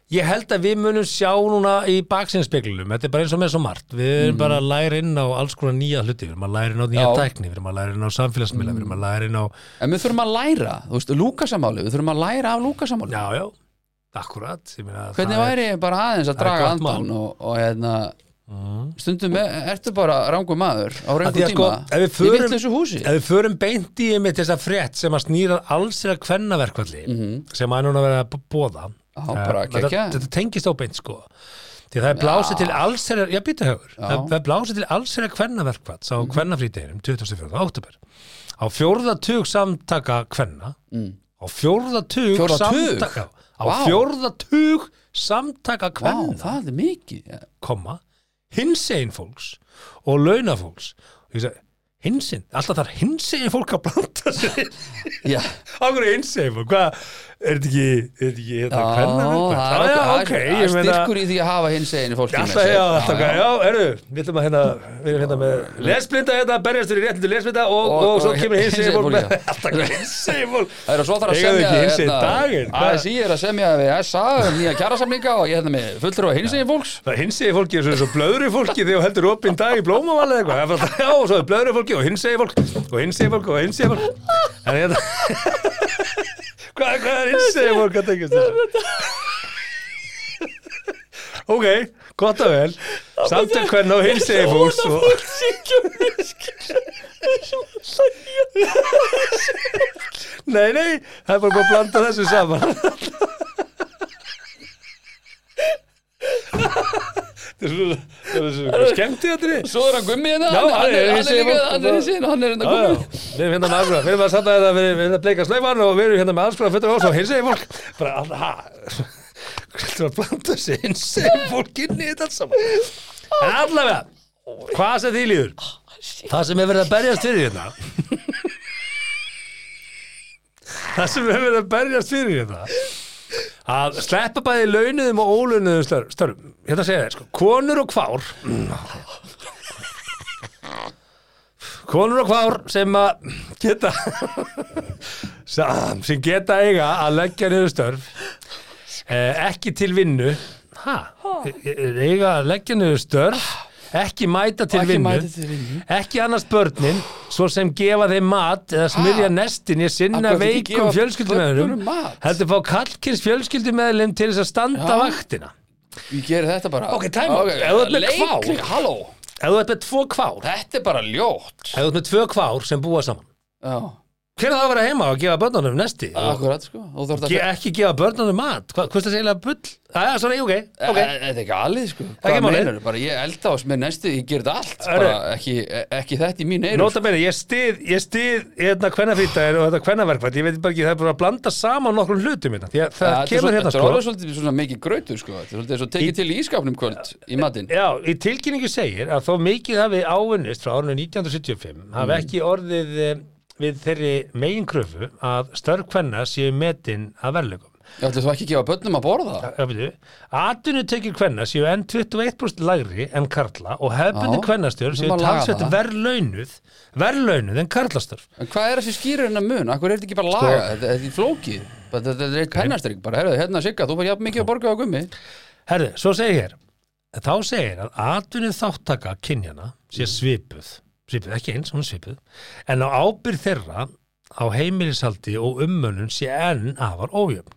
ég held að við munum sjá núna í baksinspeglinum, þetta er bara eins og með svo margt við erum bara að læra inn á alls konar nýja hluti við erum að læra inn á nýja
Mhm. Já.
tækni, við erum að læra inn á samfélagsmiðla, við erum að læra inn á
En við þurfum að læra, þú veist, Lúkasamáli, við þurfum að læra af Lúkasamáli.
já, já, akkurat ég meina,
Hvernig
það er-
væri bara aðeins
það er
að draga
gott mál. Mm.
andan og, og hérna, stundum er, ertu bara rangum maður á
Af því
rangum
að sko,
tíma.
ef við
Ég
förum-
vill þessu húsi.
Ef við förum beint í einmitt þessa frétt sem að snýra alls eða kvennaverkvalli sem að er núna verið að bóða
Já, Mhm. bara
þetta,
kekja.
þetta tengist á beint sko Því það er blásið til allsherjar, já býtu högur,
Já. Mhm.
það það er blásið til allsherjar kvennaverkvall á kvennafrídeginum 24. oktober. Á fjórða tug samtaka kvenna,
Mm.
á fjórða tug
Fjórða tug?
samtaka, á
Vá.
fjórða tug samtaka
Vá,
kvenna
það er mikið. Já,
komma, hinsegin fólks og launafólks Ég sagði, hinsegin, alltaf þarf hinsegin fólk að blanda sér
já,
á hverju hinsegin fólk, hvað er þetta ekki, er þetta ekki hérna
það
[laughs] hvernig
er
já,
það er-
ok,
það er
ég meina
styrkur í því að hafa hins einu fólki
alltaf, já, alltaf, já, já, herru við ætlum að hérna, við erum hérna með lesblinda hérna, berjastur í réttindu lesblinda og,
Og-
og, svo
og
kemur hinsegin
hinsegin
fólk
fólk,
með
já. [laughs]
alltaf hinsegin fólk
Það er svo þarf að
Eiga þau
semja hérna
ekki hinsegin daginn? Hvað-
ASI er að semja við SA um nýja kjarasamlinga og ég hefði með fullur á hinsegin fólks
Það hinsegi fólki er svo svo blöðru fólki þegar þú heldur opinn dag í blómaval eða eitthvað. Það er bara, Já, og svo er blöðru fólki og hinsegi fólk og hinsegi fólk og hinsegi fólk. En ég [laughs] Hvað, hvað er hinsegi fólk að tengjast þessu? Ok, gott og vel. Samtökk hvernig á hinsegi fólks og... Nei, nei, það er bara búið að blanda þessu saman. [laughs] Það er svo- það er svo skemmtið að þetta.
Svo er hann gummið hérna,
Já,
hann, hann,
hann er
er- hann er
hinsegin
líka
fólk.
hann er hinsegin og hann er
Já,
hérna
já,
gummið
við erum hérna með afgraf, við erum að safna þetta, við erum hérna að bleika slöfan og við erum hérna með afgraf fyrir ás og hinsegin fólk. Bara, alla, ha, [laughs] hvernig var að blanda þessi hinsegin fólk inn í þetta allt saman? En allavega, hvað sem því líður, það sem er verið að berjast fyrir hérna, það sem er verið að berjast fyrir hérna, að sleppa bæði launuðum og ólaunuðum störf, störfum, hérna segja þeir, sko, konur og kvár, konur og kvár sem að geta [laughs] sem sem geta eiga að leggja niður störf eh, ekki til vinnu ha, eiga að leggja niður störf ekki mæta til
Og ekki
vinnu
mæta til vinnu.
ekki annars börnin svo sem gefa þeim mat eða smyrja
Ha?
nestin ég sinna
Akkur ekki
veikum
gefa börnunum
fjölskyldumæðurum
mat?
heldur fá kallkins fjölskyldumeðlum til þess að standa
Já.
vaktina
Ég gerir þetta bara
Ok, time out. Ef þú ert með
Leikli-
kvál.
Halló,
ef þú ert með tvo kvár ef
þetta er bara ljótt
þú ert með tvö kvár sem búa saman
Já,
hvernig það að vera heima og gefa börnunum nesti og
akkurat sko Þú þarf
ge ekki gefa börnunum mat Hva- hvað er það eiginlega bull? Það er svona, ok,
Eh, Þetta
ok
er ekki alveg sko
Ekki málið.
meinarðu? bara ég elda ás með næstu, ég ger þetta allt
Herru.
bara, ekki, eh, ekki þetta í mín sko. einu
Nota meina, ég stið, ég stið hérna kvennafýtaðir og þetta kvennaverkvætt, ég veit bara ekki, það er bara að blanda saman nokkrum hlutum hérna, því að það kemur hérna
Þetta er
sko.
alveg svolítið svona mikið grautur sko Þetta er svolítið svo tekið til í ískapnum kvöld í matinn
Já, í tilkynningu segir að þó mikið hafi áunnist frá árinu 1975 hafi
Mm.
ekki orðið eh, við þeirri meginkröfu að störf kvenna séu metin að verðlegum.
Ég ætla þú ekki að gefa börnum að borða
Atvinnu tekjur kvenna séu enn 21% lægri en karla og hefbundi
Já,
kvennastjörn
við
séu
þurfum að laga
talsvett
það.
verðlaunuð, verðlaunuð en karlastörf.
En hvað er þessi skýrur hennar mun? Akkur er þetta ekki bara
Sko.
laga? Þetta, þetta er flókið Bara Þetta þetta er eitt pennastrygg bara, herrðu, hérna sigga, þú fær jafn mikið að borga á gummi
Herðu, svo segir hér þá segir að atvinnið þáttaka kynjana sé svipuð svipuð, ekki eins, hún er svipuð en á ábyrð þeirra á heimilishaldi og ummönnun sé enn afar ójöfn.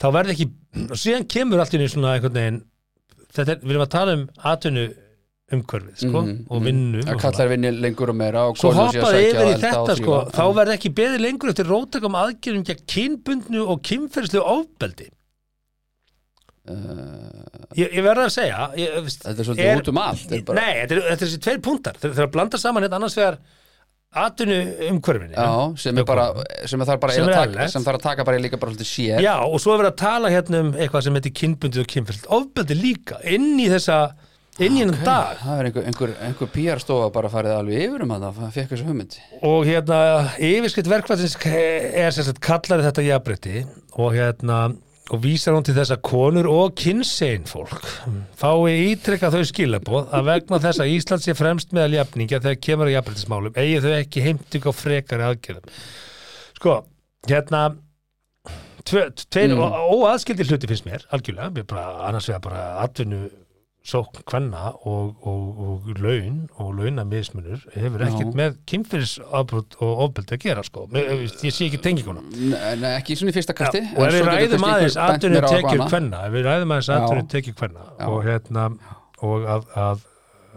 Þá verði ekki og síðan kemur allt í einu svona einhvern veginn þetta er, við erum að tala um atvinnu umhverfið, sko,
Mhm,
og vinnu
Að
og svona.
kallar vinni lengur og meira og
Svo
konur sé að
hoppaði
sækja
yfir
og
í
elda
þetta
og
sko,
þrífa.
þá verði ekki beðið lengur eftir róttakum aðgerðum gegn kynbundnu og kynferðslu ofbeldi. Ég, ég verði að segja, ég, veist,
Eh, Þetta er svolítið út um allt, þetta er bara-
Nei, þetta er, þetta er þessi tveir punktar, þeir þeir eru að blanda saman hérna annars vegar atinu umhverfinni.
Já, sem er bara sem er þar bara
Sem
er
er
að taka,
eðlilegt.
sem þarf að taka bara líka bara svolítið sér
Já, og svo er verið að tala hérna um eitthvað sem heitir kynbundið og kynferðslu ofbeldi líka, inn í þessa, inn í hennan dag.
Það er einhver, einhver, einhver PR-stofa bara farið alveg yfir um hann það fekk þessu hugmynd
og hérna yfirskritt verkvæðsins er sem sagt kallari þetta jafnbreytti og hérna og vísar hún til þess að konur og kynsegin fólk fái ítrekka þau skilaboð að vegna þess að Ísland sé fremst meðal jafningja þegar kemur að jafnbreytismálum eigi þau ekki heimtík á frekari aðgerðum sko, hérna tve, tveir
Mm.
mm. óaðskildi hluti finnst mér, algjörlega mér bara, annars vegar bara atvinnu sókn kvenna og, og, og laun og launamismunur hefur ekkert með kynfyrirsafbrot og ofbeldi að gera sko. Mér- Ég, ég sé ekki tenginguna
Nei, nei, ekki svona í fyrsta kasti
og ef við ræðum aðeins atvinnu tekjur kvenna ef við ræðum aðeins
Já.
atvinnu tekjur kvenna og hérna og að,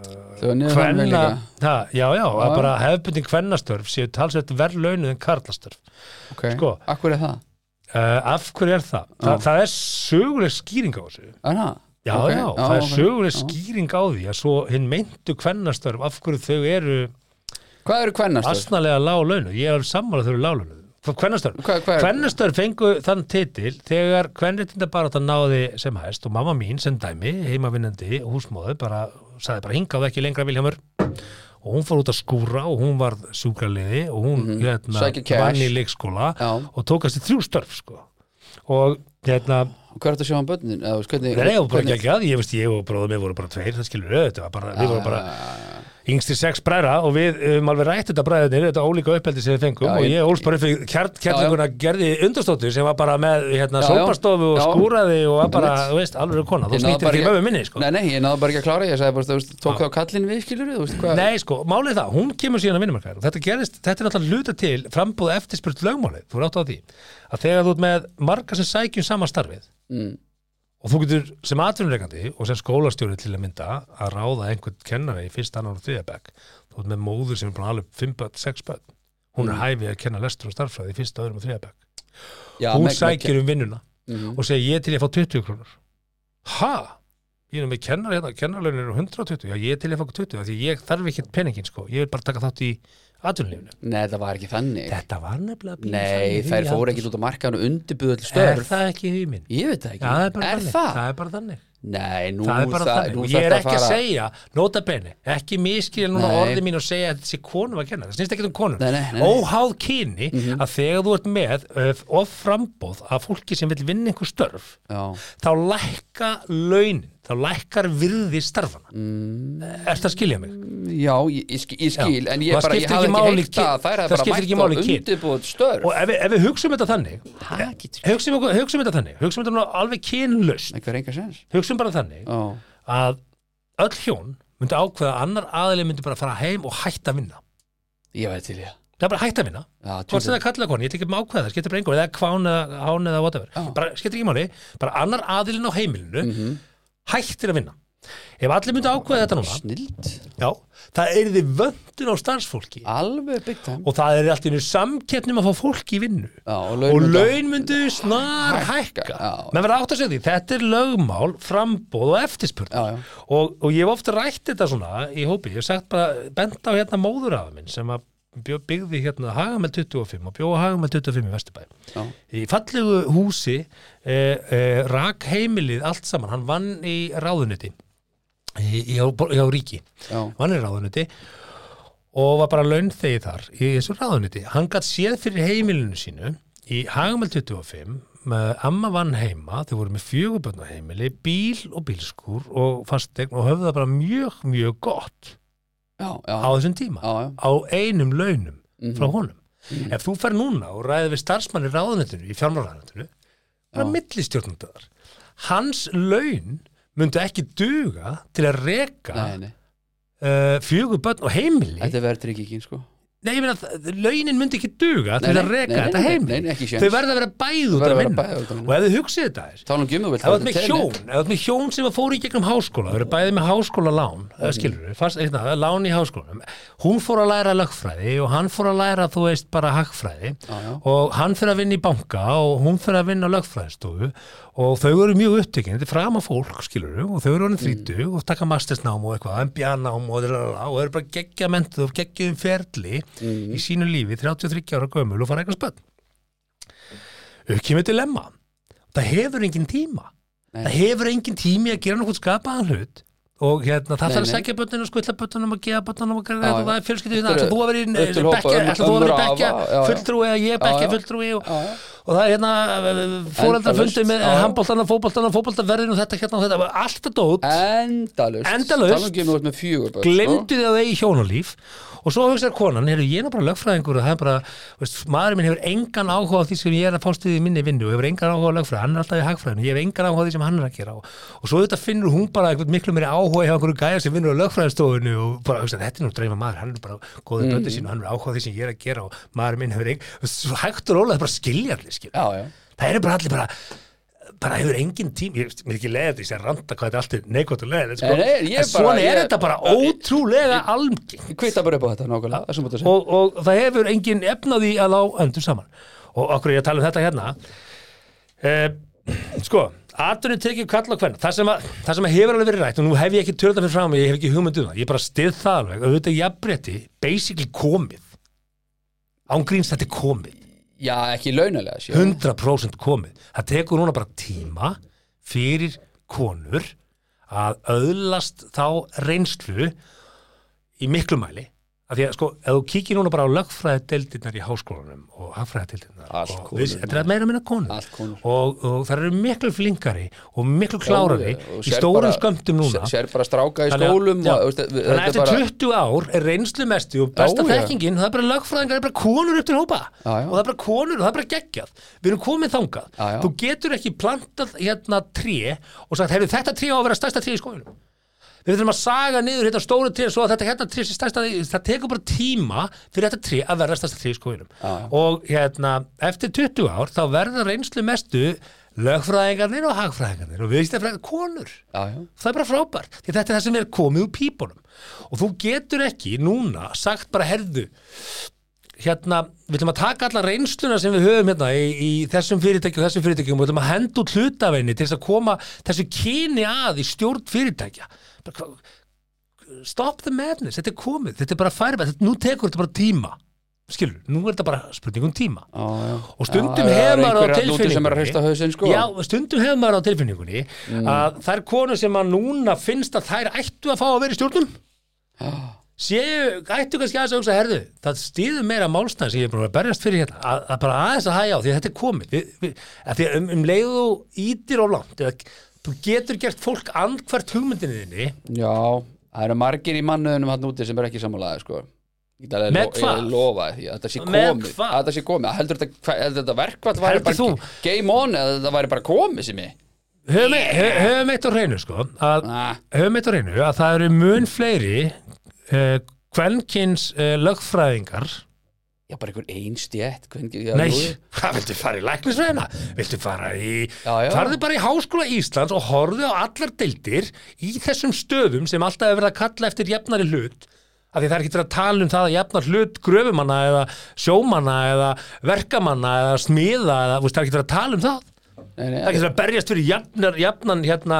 að
Kvenna
kvenna ha, já, já, að
Já.
bara hefbundin kvennastörf séu talsveit verð launuð en karlastörf
okay.
sko.
Akkur er það?
uh, af hverju er það? Þa, það er söguleg skýring á þessu
Er það?
já,
Ok,
já, það er
ok,
söguleg
já.
skýring á því að svo hinn meintu kvennastörf af hverju þau eru
Hvað eru kvennastörf?
asnalega lág launuð ég er alveg sammála þau eru lág launuð kvennastörf
Hvað, hvað er,
Kvennastörf fengu þann titil þegar kvennréttinda náði sem hæst og mamma mín sem dæmi, heimavinnandi húsmóðu, bara, sagði bara hingað ekki lengra Viljámur og hún fór út að skúra og hún varð sjúkraliði og hún
Sækja
hérna,
Mhm. cash.
vann í leikskóla
Já.
og tókast í þrjú störf sko. og hérna
hvað er þetta að sjá um börnin? Eða, þú veist, hvernig,
Nei, og bara ekki ekki að, ég veist, ég og bróðum við vorum bara tveir, það skilur við, þetta var bara, við vorum bara
Ah.
yngstir sex bræðra og við um alveg rætt þetta bræðinir, þetta ólíka uppeldi sem við fengum
Já,
og
ég-
ég ólst bara upp fyrir kjart, kjartlinguna gerði undarstóttur sem var bara með hérna
Já, já.
sópastofu og
Já.
skúraði og var bara,
Einmitt.
þú veist, alveg kona,
Ég
þú
náði
snýttir
bara
ekki
ekki-
mömmu minni, sko.
Nei, nei, ég náðu bara ekki að klára Ég sagði bara, þú veist, tók þá kallin við, skilur við, þú veist, hvað
Nei, sko, málið það, hún kemur síðan að vinnumarkaðar og þetta gerist, þetta er náttúrulega hluta til frambúð eftirspurt lögmálið, þú er átt á því að þegar þú ert með marga sem sækjum sama starfið
Mm.
og þú getur sem atvinnureikandi og sem skólastjóri til að mynda að ráða einhvern kennari í fyrst annan og þriðabæk þú ert með móður sem er búin að alveg 5 börn, 6 börn hún
Mm.
er hæfið að kenna lestur og starffræði í fyrst öðrum og þriðabæk
Já,
hún
með-
sækir um vinnuna
með- Mhm.
og segir ég til ég að fá 20 krónur ha? Ég er með kennar hérna, kennarlaunin eru 120, já ég er til ég að fá 20 af því ég þarf ekki peningin sko, ég vil bara taka þátt í atvinnulífinu.
Nei, það var ekki þannig
Þetta var nefnilega pínu
Nei,
þannig
þær
í
fóru
Halldórs.
ekki út á markaðan og undirbyðu öll
Er
störf
það ekki hugminn?
Ég veit það
Já, það er
ekki
bara
Er
þannig.
það?
Það er bara þannig.
Nei, nú
það er bara
það-
þannig
nú
og ég er
þarftu
ekki að
fara-
segja, nota bene ekki miskilja núna
Nei.
orði mín og segja að þetta sé konum að kenna, það snýst ekki um konum
Nei, nei, Mhm. nei, nei.
óháð kyni að þegar þú ert með öf, of frambóð að fólki sem vil vinna einhver störf
Já.
þá lækka launin þá lækkar virði starfana mm. er það að skilja mig?
Já, ég, ég, skil, ég skil,
Já.
en ég,
Og það
bara, ég
skiptir
hafði
ekki
ekki
máli
heilt að
kyn-
þær
það
hafði bara
skiptir ekki
mætt og
máli kyn.
undirbúið störf.
og ef, við- ef við hugsum þetta þannig
Það getur
hugsum, okkur- hugsum þetta þannig, hugsum þetta nú alveg kynlaust
ekki verið enga sens.
hugsum bara þannig
Já,
að öll hjón myndi ákveða að annar aðli myndi bara fara heim og hætta að vinna
Ég veit til ég
það er bara að hætta að vinna
Já,
hvort sem það
tjúlið.
er kallað koni, ég tek ekki með ákveða það skiptir bara einhver, eða kván eða hán eða whatever
Já.
bara, skiptir ekki máli, bara annar aðilinn á heimilinu
Mhm.
hættir að vinna ef allir myndi ákveða þetta núna
Snilld
já, það er því vöndun á starfsfólki
Alveg big time
og það er allt í einu samkeppnum að fá fólk í vinnu
Já, og
og
laun-
laun myndu snar hækka
já.
menn verða átt að segja því, þetta er lögmál frambóð og eftirspurn
Já, já.
og, og ég hef ofta rætt þetta svona í hópi, ég hef sagt bara bent á hérna móðurafa minn sem að bjó- byggði hérna Hagamel 25 og bjóða Hagamel 25 í Vesturbæ
Já.
í fallegu húsi eh, eh, rak heimilið allt saman hann vann í ráðuniti í, í, á, í á ríki
Já,
vann í ráðuniti og var bara launþegi þar í þessu ráðuniti. Hann gatt séð fyrir heimilinu sínu í Hagamel 25 með amma vann heima, þau voru með fjögubönd á heimili, bíl og bílskúr og fastegn og höfðu það bara mjög, mjög gott
já, já,
á þessum tíma,
já, Mhm. já.
á einum launum frá honum. Ef þú fer núna og ræði við starfsmann í ráðunitinu, í fjármálaráðunitinu, bara
Já.
millistjórnundar. Hans laun myndi ekki duga til að reka
Nei, nei,
uh, fjögur börn og heimili
þetta er verðtryggingin sko
Nei, ég meina, þ- launin myndi ekki duga til
Nei,
að
nei,
reka
nei, nei,
þetta
nei,
heimili
nei, nei, ekki séns.
Þau verða að vera bæð út
Verða
að
að vera
vinna
bæði út að vinna.
Og ef þið hugsið þetta þess
Tala um gjömmuvöld
Ef þú ert með hjón, ef þú ert með hjón sem að fóru í gegnum háskóla, þau eru bæði með háskóla lán, mm. skilur við, fast, eitna, lán í háskólanum, hún fór að læra lögfræði og hann fór að læra, þú veist, bara hagfræði
Já, já.
og hann fyrir að vinna í banka og hún fyrir að vinna á lögfræðistofu og þau eru mjög upptekinn, þetta er fram að fólk, skilur við, og þau eru honum þrítu og taka mastersnám og eitthvað, MBA-nám og, dralala, og eru bara geggja mentuð og geggjum ferli í sínu lífi, 33 ára gömul og fara eitthvað spönn. Uppkýmur dilemma. Það hefur engin tíma
Nei.
það hefur engin tími að gera nokkuð skapaðan hlut og hérna, það
Nei,
þarf að
nei.
segja bötunum, skvilla bötunum og geða bötunum og gera
Já,
þetta
já.
og það er fjölskyldið
Þetta eru-
þú að vera í
þetta eru hópa
bekkja,
ömmur-
ætla þú að vera í
ömmur og
bekkja
afa, já, já.
fulltrúi eða ég er bekkja
Já, já.
fulltrúi og,
Já, já.
og það er hérna fóreldrafundi
Endalaust,
með
já, já.
handbóltana, fótbóltana, fótbóltaverðin og þetta hérna og þetta, allt þetta dót
Endalust
Endalaust.
Tala um gjömmuvöld með fjögur börn, sko.
glemdu þið að það í hjónalíf og svo hugsaði konan, heyrðu, ég er nú bara lögfræðingur og það er bara, veist, maðurinn minn hefur engan áhuga á því sem ég er að fást við í minni vinnu og hefur engan áhuga á lögfræði, hann er alltaf í hagfræðinu ég hefur engan áhuga á því sem hann er að gera og, og svo þetta finnur hún bara eitthvað miklu meiri áhuga hjá einhverju gæja sem vinnur á lögfræðistofinu og bara, hugsaði, þetta er nú dreima maður, hann er bara góðið mm. sín og hann er áhuga á því sem ég er að gera og maðurinn minn hefur engan, svo hægt og rólega bara skilja allir, skilja
Já, já
það eru bara allir bara bara hefur engin tím, ég veist, mér er ekki leiðið því að ranta hvað þetta allt er neikvæmt og leiðið sko.
Nei, nei, ég
en
bara-
svona er
ég-
þetta bara ótrúlega almgeng
Ég kvita bara upp á þetta nákvæmlega þessum búin að segja
og, og það hefur engin efnaði að lá öndur saman og okkur er ég að tala um þetta hérna e, sko aðurinn tekið kall og hvern það sem, að, það sem að hefur alveg verið rætt og nú hef ég ekki törða fyrir fram ég hef ekki hugmynd um það, ég bara stið það alveg auðvitað jafnbretti, basically komið ángríns þetta er komið
Já, ekki launalega sé
100% komið. Það tekur núna bara tíma fyrir konur að öðlast þá reynslu í miklu mæli. Af því að sko, ef þú kíkir núna bara á lögfræðadeildirnar í háskólanum og hagfræðadeildirnar
Allt
og
konur,
við- þetta er meira minna konur.
Allt konur.
Og, og það eru miklu flinkari og miklu klárari
Já, og
í
sér
stórum
bara-
skömmtum núna.
sér- Sér bara stráka í
Þannig að-
skólum
já.
og, veist, við-
Þannig að
þetta
eftir
er bara-
20 ár er reynslu mestu og besta
Já, já.
þekkingin, það er bara lögfræðingar, það er bara konur upp til hópa
Já, já.
og það er bara konur og það er bara geggjað. Við erum komið þangað.
Já, já.
Þú getur ekki plantað hérna tré og sagt, heyrðu þetta tré á að vera stærsta tré í skóinum. Við þurfum að saga niður þetta stóra tré svo að þetta hérna tré sé stærsta, það tekur bara tíma fyrir þetta tré að verða stærsta tré í skóinum. Og hérna, eftir 20 ár þá verða reynslu mestu lögfræðingarnir og hagfræðingarnir og viðstæðfræðingar konur
Já, já
það er bara frábært, því þetta er það sem er komið úr pípunum og þú getur ekki núna sagt bara herðu hérna, við ætlum að taka alla reynsluna sem við höfum hérna í, í þessum fyrirtækjum og þessum fyrirtækjum og við ætlum að henda út hlutafenni til þess að koma þessu kyni að í stjórn fyrirtækja bara, hva- stop the madness, þetta er komið þetta er bara færið, nú tekur þetta bara tíma skilur, nú er þetta bara spurning um tíma
Já, já.
og stundum
Já,
hefur
Ah, það eru
maður á
einhverjar þarna úti sem er
tilfinningunni
að hrista hausinn, sko. Mm.
já, stundum hefur maður á tilfinningunni að þær konur sem að núna finnst að þær ættu að fá að vera í stjórnum
Ah.
séu, ættu kannski aðeins að hugsa herðu, það stýður meira málstæðan sem ég er búin að berjast fyrir hérna, að, að bara aðeins að hæja á því að þetta er komið, við, við, að því að um, um leiðu þú ítir og langt eða, þú getur gert fólk andhvert hugmyndinni þinni
Já, það eru margir í mannuðunum hann úti sem er ekki sammálaði sko. Ég get alveg
Með
lo-
hvað?
Ég lofa því að þetta sé
Með
komið
hvað?
að þetta sé komið, heldur þetta, hva- heldur þetta verkvært væri
Heldur
bara
þú?
ge- game on eða þetta væri bara komið sem ég
höfum, yeah. höfum eitt á reynu sko að,
Ah.
höfum eitt á reynu að það eru mun fleiri uh, kvenkins uh, lögfræðingar
Já, bara einhver einstjætt hvernig, já,
nei,
jú,
hvað viltu fara í læknisveina viltu fara í,
Já, já.
farðu bara í Háskóla Íslands og horfðu á allar deildir í þessum stöðum sem alltaf er verið að kalla eftir jafnari hlut af því það er ekki til að tala um það að jafnar hlut gröfumanna eða sjómanna eða verkamanna eða smiða eða, þú veist, það er ekki til að tala um það
nei, nei,
Það er ekki að berjast fyrir jafnar, jafnan, hérna,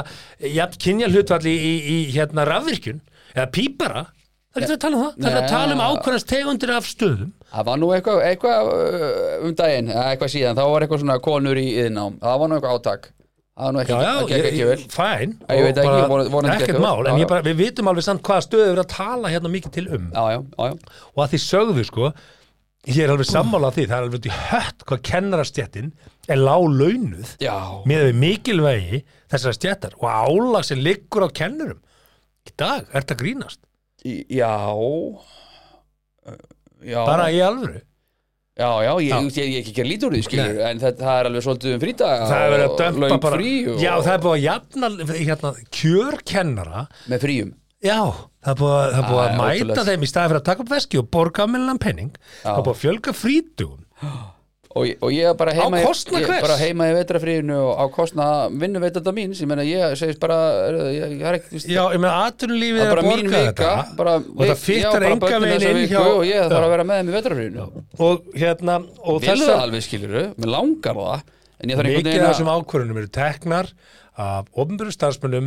jafn kynjalhutvalli í, í hérna rafvirkjun eða pípara. Það er ekki að tala um það. Það er að
Nei.
tala um ákveðast tegundir af stöðum.
Það var nú eitthvað, eitthvað uh, um daginn, eða eitthvað síðan, þá var eitthvað svona konur í yðnám, það var nú eitthvað átak Það var nú ekki,
Já, já,
það gekk ekki vel
fæn.
Já, ég veit ekki, von- vonandi gekk
ekkert
vel.
mál, en
Já,
ég
já.
bara, við vitum alveg samt hvaða stöðu við erum að tala hérna mikið til um.
Já, já, já, já,
Og að því sögðu, sko, ég er alveg sammála því, það er alveg út í hött hvað kennarastjettin er lág launuð
já,
með við mikilvægi þessara stjettar og álag sem liggur á kennurum. Í dag, ert að grínast.
í- já uh, Já,
Bara í alvöru.
já, já, ég, ég, ég, ég ekki gera lítur úr því skilur, en það, það er alveg svolítið um frídag
það er verið að
og
dömpa
löng
bara
frí og,
já, það er búið að jafna hérna, kjörkennara
með fríum
já, það er búið að, það er búið
Æ,
að mæta
ótrúlegt.
þeim í staði fyrir að taka upp veski og borga millan penning það er búið að fjölga frítugum
og, ég- og ég er bara heima
Á kostnað
ég,
hvers?
bara heima í vetrafríinu og á kostna vinnuveitanda mín, sem meina ég segist bara ég, ég, ég er ekki
já, ég meina, atvinnulífið
Það
er
er bara
að
mín
borga
vika
þetta
bara,
og það fyrtar enga veginn inn hjá
og ég þarf að
Já,
vera með þeim í vetrafrínu
og hérna og
Vilðu
þessar
það alveg skiluru, mér langar það en ég þarf einhvern
mikið af
veginn
þessum
að
ákvörunum eru teknar af ofnbjörn starfsmönnum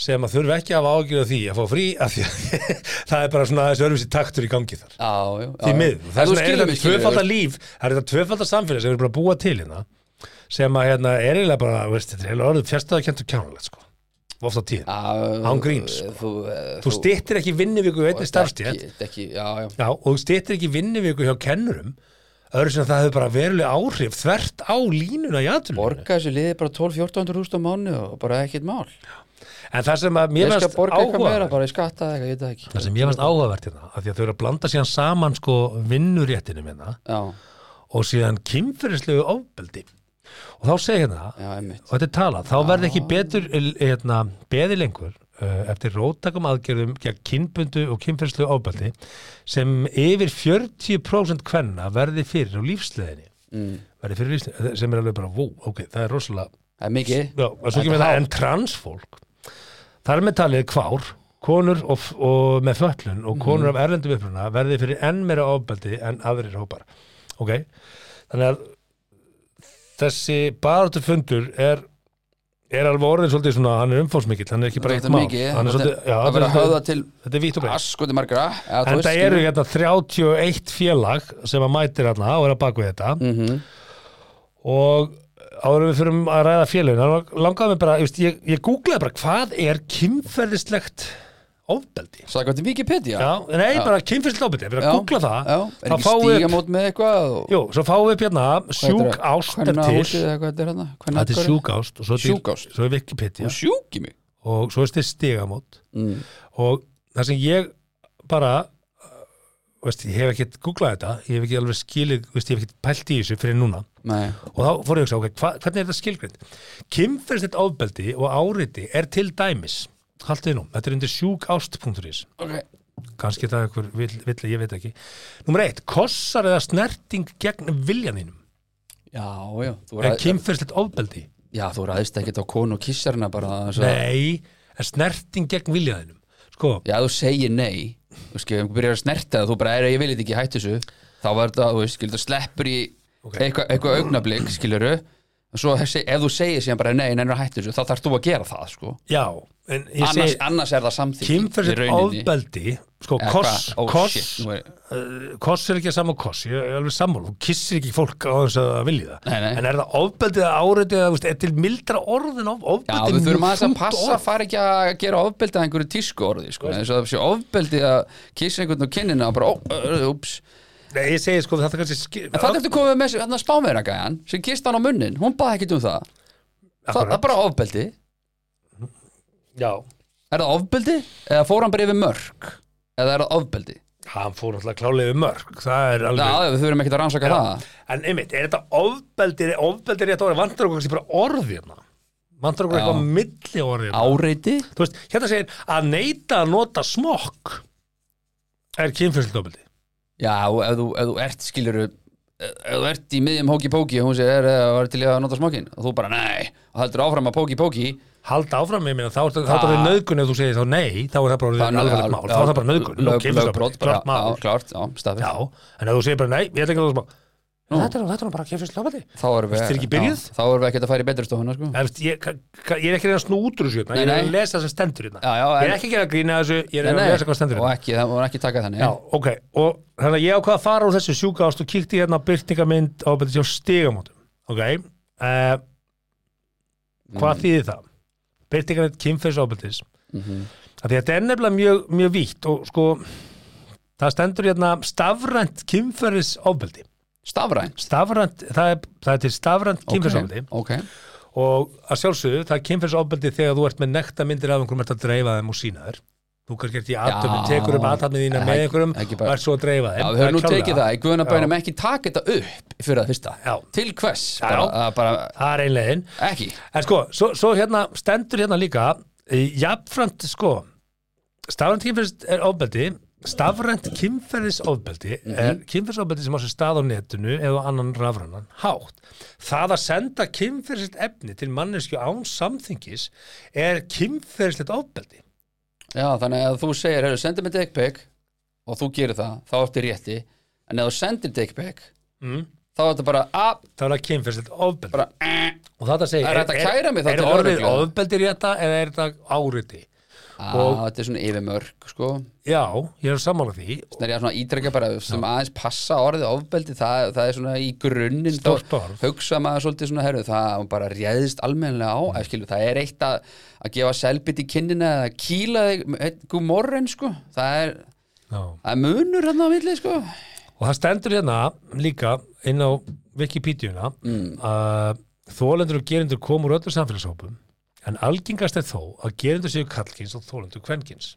sem að þurfa ekki að hafa ágjörð því að fá frí af því að [laughs] það er bara svona þessu örfisi taktur í gangi þar
Já, já, já.
því miður,
En
það
þú
er
skilur
þetta
mig, skilurðu.
tvöfaldar líf það er þetta tvöfaldar samfélag sem við erum búin að búa til hérna sem að hérna er eiginlega bara veist, þetta er eiginlega orðið fjärstaðakent og kjánulegt sko ofta á tíðin,
Já, eh,
Án gríns,
Þú, þú,
þú stýttir ekki vinnuviku í einni starfstíð,
Ekki- ekki- Já, já,
já, og þú stýttir ekki vinnuviku hjá kennurum, öðru sem það hefur bara veruleg áhrif þvert á línuna í aðtunum,
borga þessu liði bara 12-14 húst á mánu og bara ekkert mál
en það sem að
Ég
mér
skal
varst
borga eitthvað meira,
áhugavert
bara ég skatta eitthvað, ég veit það ekki
það sem ég varst áhugavert hérna, af því að þau eru að blanda síðan saman sko vinnuréttinu minna
Já,
og síðan kynferðislegu ofbeldi og þá segir hérna
já, einmitt
og þetta er talað, þá verði ekki betur hérna, beði lengur uh, eftir róttakum aðgerðum gegn kynbundu og kynferðslu ábælti sem yfir 40% kvenna verði fyrir á lífsleðinni
Mm.
verði fyrir lífsleðinni, sem er alveg bara vó, ok, það er rosalega
Það er mikið
já, en svo kemur
Þetta er
það,
hátt.
en transfólk þar með talið kvár konur og, f- og með föllun
Mhm.
og konur af erlendum uppruna verði fyrir enn meira ofbeldi en aðrir hópar ok, þannig að þessi baráttu fundur er er alveg orðin svolítið svona, hann er umfórsmikill hann er ekki bara eitt
Þetta er
mál
mikið,
Hann er
þetta
svolítið-
er-
já,
það verður að
þetta er-
höfða til
þetta er vítt og breytt
askuti margra eða þú
en
veist,
það eru hérna 31 félag sem að mætir hérna og er að baka við þetta
Mhm.
og áður en við fyrir að ræða félagin þá langaði mig bara, just, ég, ég googlaði bara hvað er kynferðislegt ofbeldi
Sagði hvað Wikipedia
já, nei, bara kynferðislegt ofbeldi, ég er
Já.
að googla það
Já, er
þá
ekki
fáum við upp,
stígamót með eitthvað og-
jú, svo fáum við upp hérna
Hvað
sjúk
heitir það?
ást er
Kvennahúsið
til
eða hvað þetta er
þetta
hérna?
er
Kvennahverfi?
sjúk ást og svo, til,
Sjúkást.
svo er Wikipedia
Hún sjúk í mig
og svo er þetta stigamót
mm.
og það sem ég bara uh, veist, ég hef ekkert googlað þetta ég hef ekki alveg skilið, veist, ég hef ekkert pælt í þessu fyrir núna
Nei,
og þá fór ég að hugsa, ok, hva, hvernig er þetta skilgrind kynferðsnitt ofbeldi og áriti er til dæmis, haldið nú þetta er undir sjúkást.is
ok
kannski það er einhver vill, vill, ég veit ekki nummer eitt, kossar eða snerting gegn viljaninum,
Já, já, þú
en
ræð-
kynferðsnitt ofbeldi
já, þú ræðist ekkert á konu og kissarina bara þess að
nei, en snerting gegn viljaninum sko,
Já, þú segir nei Þú skil, þú byrjar að snerta það, þú bara er ég vil þetta ekki hættu þessu Þá var þetta, þú veist, skilur, það sleppur í
Ok.
eitthvað eitthva augnablik, skilur Og svo hef- ef þú segir síðan bara nei, nennir að hættu þessu Þá þarf þú að gera það, sko
já en ég
Annars,
segi,
annars er það samþykki í
kynferðsnitt
rauninni.
ofbeldi sko,
Eða
koss,
hvað? Ó,
koss
shit, nú er-
uh, koss er ekki að sama og koss, ég er alveg sammála þú kissir ekki fólk á þess að það vilja það
Nei, nei.
en er það ofbeldið að áreitið eða veist, er til mildra orðin of,
Já,
ofbeldið
við þurfum aðeins að passa að fara ekki að gera ofbeldið að einhverju tísku orði, sko eins og það sé ofbeldið að kissa einhvern og kinnina og bara, ó, ö, ö, ups
nei, ég segi sko þetta kannski skil,
En það ertu komið með þessu spámeiragæjan sem kista hann á munnin, hún baði ekkert um það Það það er bara ofbeldi
já,
Er það ofbeldi? Eða fór hann bara yfir mörk? Eða er það ofbeldi?
hann fór náttúrulega klálega mörg það er
Já,
alveg
við þurfum ekkert að rannsaka það
en einmitt, er þetta ofbeldið ofbeldið rétt orðið, vantar okkur kannski bara orðið hérna Vantar okkur eitthvað
Já.
milli orðin
Áreiti?
Þú veist, hérna segir að neyta að nota smokk er kynfjörsildofbildi
Já, ef þú, ef þú ert skilur ef þú ert í miðjum hóki-póki og hún segir, er það var til í að nota smokkin og þú bara, nei, og heldur áfram að póki-póki
Halda áfram með minna, þá er það bara nöðgun ef þú segir þá nei, þá er það bara orðið alvarlegt mál, þá er það bara nöðgun og
Lögbrot,
kynfjörsildofbildi,
bara,
klart
já,
mál
klart, já, staðfest
Já, en ef þú segir bara nei, ég ætla ekki að nota smokk
Nú.
Þetta er- þetta er nú bara kynfjörsildofbildi
Þá erum við,
Veistu, er ekki byrjuð?
já, þá erum við ekkert að fara í betri stofuna, sko
Efst, ég, ka- ka- ég er ekki að reyna að snútur þessu hérna,
Nei,
ég er að
nei.
lesa það sem stendur hérna
Já, já,
Ég er
en-
ekki að gera grína þessu, ég er
Nei,
að
nei,
lesa hvað stendur
og
hérna
ekki, það voru ekki takað þannig
Já, ok, og þannig að ég ákvað að fara úr þessu sjúka ást og kíkti hérna á byrtingamynd á betið sjá stigamótum Ok, uh, hvað þýðir það? Byrtingamynd kynferðsofbeldis af Því að þetta er nefnilega mjög, mjög vítt og sko, það stendur hérna stafrænt kynferðisofbeldi
Stafrænt
Stafrænt, það er, það er til stafrænt kynferðisofbeldi
Ok, ok.
og að sjálfsögðu, það er kynferðsofbeldi þegar þú ert með nekta myndir af einhverjum ert að dreifa þeim og sína þér þú kannski ert í aðtöfnum, tekur um aðtöfnum þína
En
með
ekki-
einhverjum
ekki
og
bara-
ert svo að dreifa þeim
Já, við höfum nú
Það er
tekið
klárlega.
það, í guðuna bænum ekki taka þetta upp fyrir að fyrsta
Já.
Til hvers,
Já.
bara, að, bara
það er einlegin
ekki
en sko, svo, svo hérna stendur hérna líka eh, jafnframt sko stafrænt kynferðsofbeldi stafrænt kynferðisofbeldi
Mhm.
er kynferðisofbeldi sem á sér stað á netinu eða á annan rafrannan hátt það að senda kynferðislegt efni til mannesku án samþyngis er kynferðislegt ofbeldi
Já, þannig að þú segir, hefur, sendir mig dickpic og þú gerir það, þá ertu í rétti en ef þú sendir dickpic
Mm.
þá er þetta bara, "Ah, að,
það er kynferðislegt ofbeldi
bara eh,
og þetta segir
Er hægt að kæra mig þá
er
til
orðið
lögreglu?
ofbeldi rétta eða er þetta áriti
að, ah, þetta er svona yfirmörk sko,
já, ég er sammála því
þannig að svona ítrekka bara sem aðeins passa orðið ofbeldi það, það er svona í grunninn þá
Stórt orð.
hugsa maður svolítið svona, herru, það bara réðist almennilega á, mm. skilur, það er eitt að, að gefa selbit í kinnina eða kýla þig, gú morren sko, það er
já.
Það er munur hérna á milli sko
og það stendur hérna líka inn á Wikipedia-una
Mm.
að þólendur og gerendur komur öllu samfélagshópum en algengast er þó að gerendur séu kallkins og þólendur kvenkins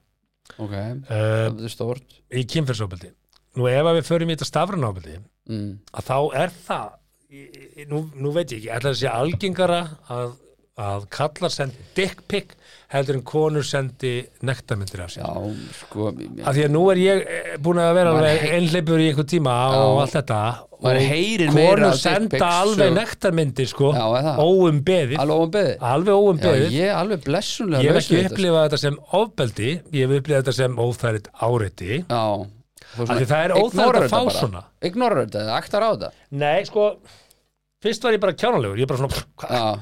Ok,
uh,
það er stórt
í kynferðsofbeldi nú ef að við förum í þetta stafranofbeldi
mm.
að þá er það í- í- nú, nú veit ég ekki, ætla að sé algengara að, að kallar sendi dick pic heldur en konur sendi nektarmyndir af sér
Já, sko
af því að nú er ég eh, búin að vera
Maður
alveg
hei-
einhleipur í einhver tíma og allt þetta
Maður
og
heyrir meira
konur
af dick pics
senda alveg
og-
nektarmyndir sko,
Já, er það?
óum beðið
Alveg ofan beðið
alveg óum
Já,
beðið
ég er alveg blessunlega
ég hef
laus
ekki
við þetta,
upplifað þetta sem ofbeldi ég hef upplifað þetta sem óþærit áreiti
sko. Já Þú
Af því það er óþægilegt
ignorar
að
þetta
fá
bara.
svona.
Ignorar þetta, það aktar á þetta
nei, sko fyrst var ég bara kjánalegur, ég bara svona "Pff, hvað
Já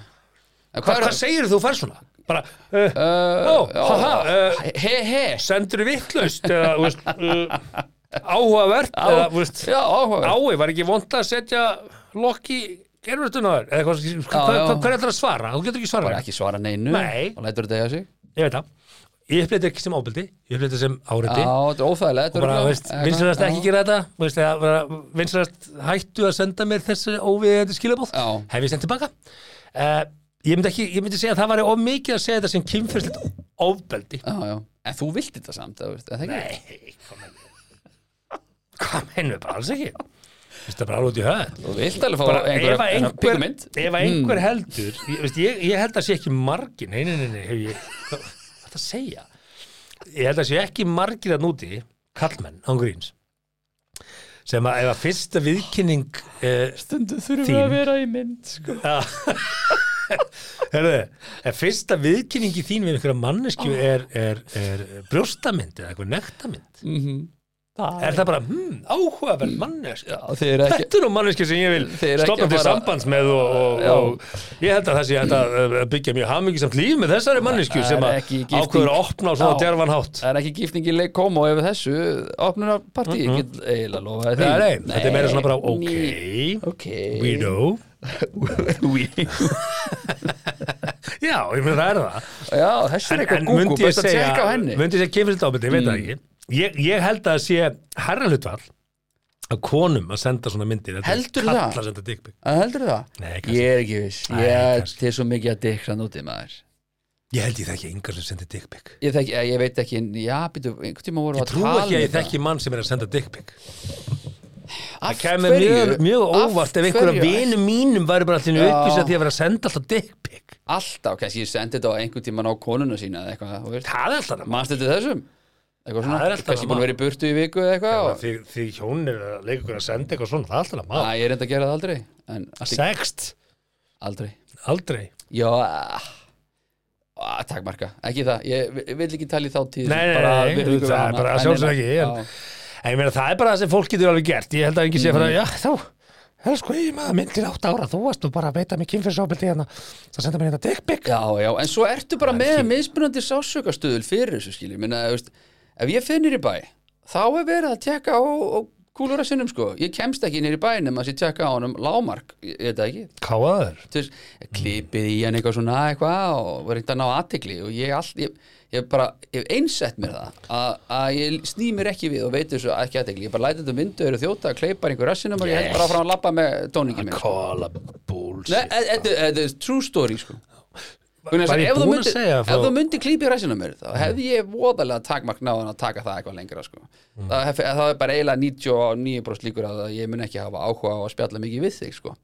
En
hva,
Hvað
hva
er
segir þú fær svona? Bara, uh,
það?
ó, haha, uh,
He, he
sendur þú vittlust eða, þú veist, uh, áhugavert eða, þú veist,
Já, áhuga
ái, var ekki vond að setja lokki gerfurtunar eða hvað, hvað, hvað,
já.
hvað, hvað er það að svara? Þú getur ekki svarað
Bara
mér.
ekki svara neinu
Nei.
Og lætur þetta eiga sig
Ég veit það, ég upplýði þetta ekki sem ábyldi ég upplýði þetta sem
Já,
áreiti
þetta er óþægilega
og bara, veist, vinsalast ekki gera þetta veist, eða bara, vinsalast hættu að senda mér þessi óviðeigandi skilabóð
Já.
hef ég sendt tilbaka uh, ég myndi ekki, ég myndi segja að það var of mikið að segja þetta sem kynfyrstilt ofbeldi
Já, já En þú vilt þetta samt, það veist, er það ekki?
Nei, hvað mennum við? Hvað mennum við bara alls ekki? Þetta er bara alveg út í höð.
Þú vilt alveg
Bara ef
fá
að
einhverja Mm.
einhver,
píkumynd
ef að einhver heldur, ég, veist, ég, ég held að sé ekki margir, nei, nei, nei, nei hef ég, hvað hvað það að segja? Ég held að sé ekki margir að núti, kallmenn, án gríns, sem að ef að fyrsta viðkynning eh,
Stundu þurfum
Þín. að
vera í mynd sko.
Herðu, ef fyrsta viðkynningi þín við einhverja mannesku er, er, er brjóstamynd eða eitthvað nektamynd
Mhm.
er það bara, hmm, áhugaverð mannesk
Þið eru ekki
þetta er nú manneski sem ég
Þeir
vil
eru
stoppa
ekki
til
bara-
sambands með og,
Já.
og, og ég held að það sé hægt að uh, byggja mjög hamingisamt líf með þessari mannesku
það
sem
er
að
ekki gifting.
ákveður að opna á svona
Já.
djarfan hátt
Það er ekki gifting í leik komo ef þessu opnunar partí, ég get eiginlega lofa því
Nei, nei, þetta er meira svona bara ok,
Ok
we know
[laughs] We-
já, ég meina það er það
Já, þessu er eitthvað
en
gúkú,
myndi ég
best að
segja
tjekka á henni Mm.
myndi ég segja kemur þetta ábyrði, ég veit það ekki ég, ég held að sé herra hlutvall að konum að senda svona myndir Þetta er
Heldurðu
karlar
það?
að senda dick pic.
Að heldur það?
Nei, kannski.
ég er ekki viss
Nei,
Ég er
kannski.
til svo mikið að dykra núti maður
ég held ég þekki engar sem sendir dick pic.
Ég, þekki, ég veit ekki, en- já, býtu, einhvern tíma voru
ég
að
trú
tala
ekki að
um
ég
þetta.
þekki mann sem er að senda dick pic.
Það
kemur mjög, mjög óvart ef einhverja vinum mínum væri bara allir
Já.
uppvísa því að vera að senda alltaf dickpick
Alltaf, kannski ég sendi þetta á einhvern tíman á konuna sína eða eitthvað, þú veist
það er alltaf nema
Manstu þetta þessum? Eitthvað
Það er
svona,
alltaf
kannski
það
búin að
mat.
vera í burtu í viku eða eitthvað og-
því, því hjónir að leika ykkur að senda eitthvað svona það er alltaf nema
Æ, ég reyndi að gera það aldrei En allt í-
sext,
aldrei
aldrei
Já, ah, ah, takk marka Ekki það, ég vi- vil ekki tala í þá tíð
Nei, nei, nei, nei, það er bara sjálfsögðu ekki, en- en ég meina það er bara það sem fólk getur alveg gert ég held að engin sé að fara, já þá það er sko ég maður myndir átt ára þú varst nú bara að beita mig kynfyrsópildi hérna það senda mér hérna dickpick
Já, já, en svo ertu bara með mismunandi sásökastuðul fyrir þessu skilji Minna, veist, ef ég finnir í bæ þá er verið að tjekka á, á kúlur að sinnum sko, ég kemst ekki nýr í bæ nema að ég tjekka á honum lámark ég ég veit það ekki,
káðaður
Þú veist, klipið í hann eitthvað svona eitthvað og var eitthvað að ná aðtegli og ég all, ég, ég bara, ég hef einsett mér það að, að ég sný mér ekki við og veit þessu ekki aðtegli, ég bara læti þetta myndu eru þjóta að kleipa einhver rassinum og ég held bara frá að labba með tóningin minn sko.
kóla búls
Nei, e- e- e- Þetta er true story sko Gunnar,
Var ég
ef þú
búinn að Mhm.
myndir-
segja
ef
frá-
þú myndir klípi ræsina mér þá hefði ég voðalega takmark náðan að taka það eitthvað lengra sko.
Mhm.
það, hef, það er bara eiginlega 99% líkur að ég mun ekki hafa áhuga á að spjalla mikið við þig sko.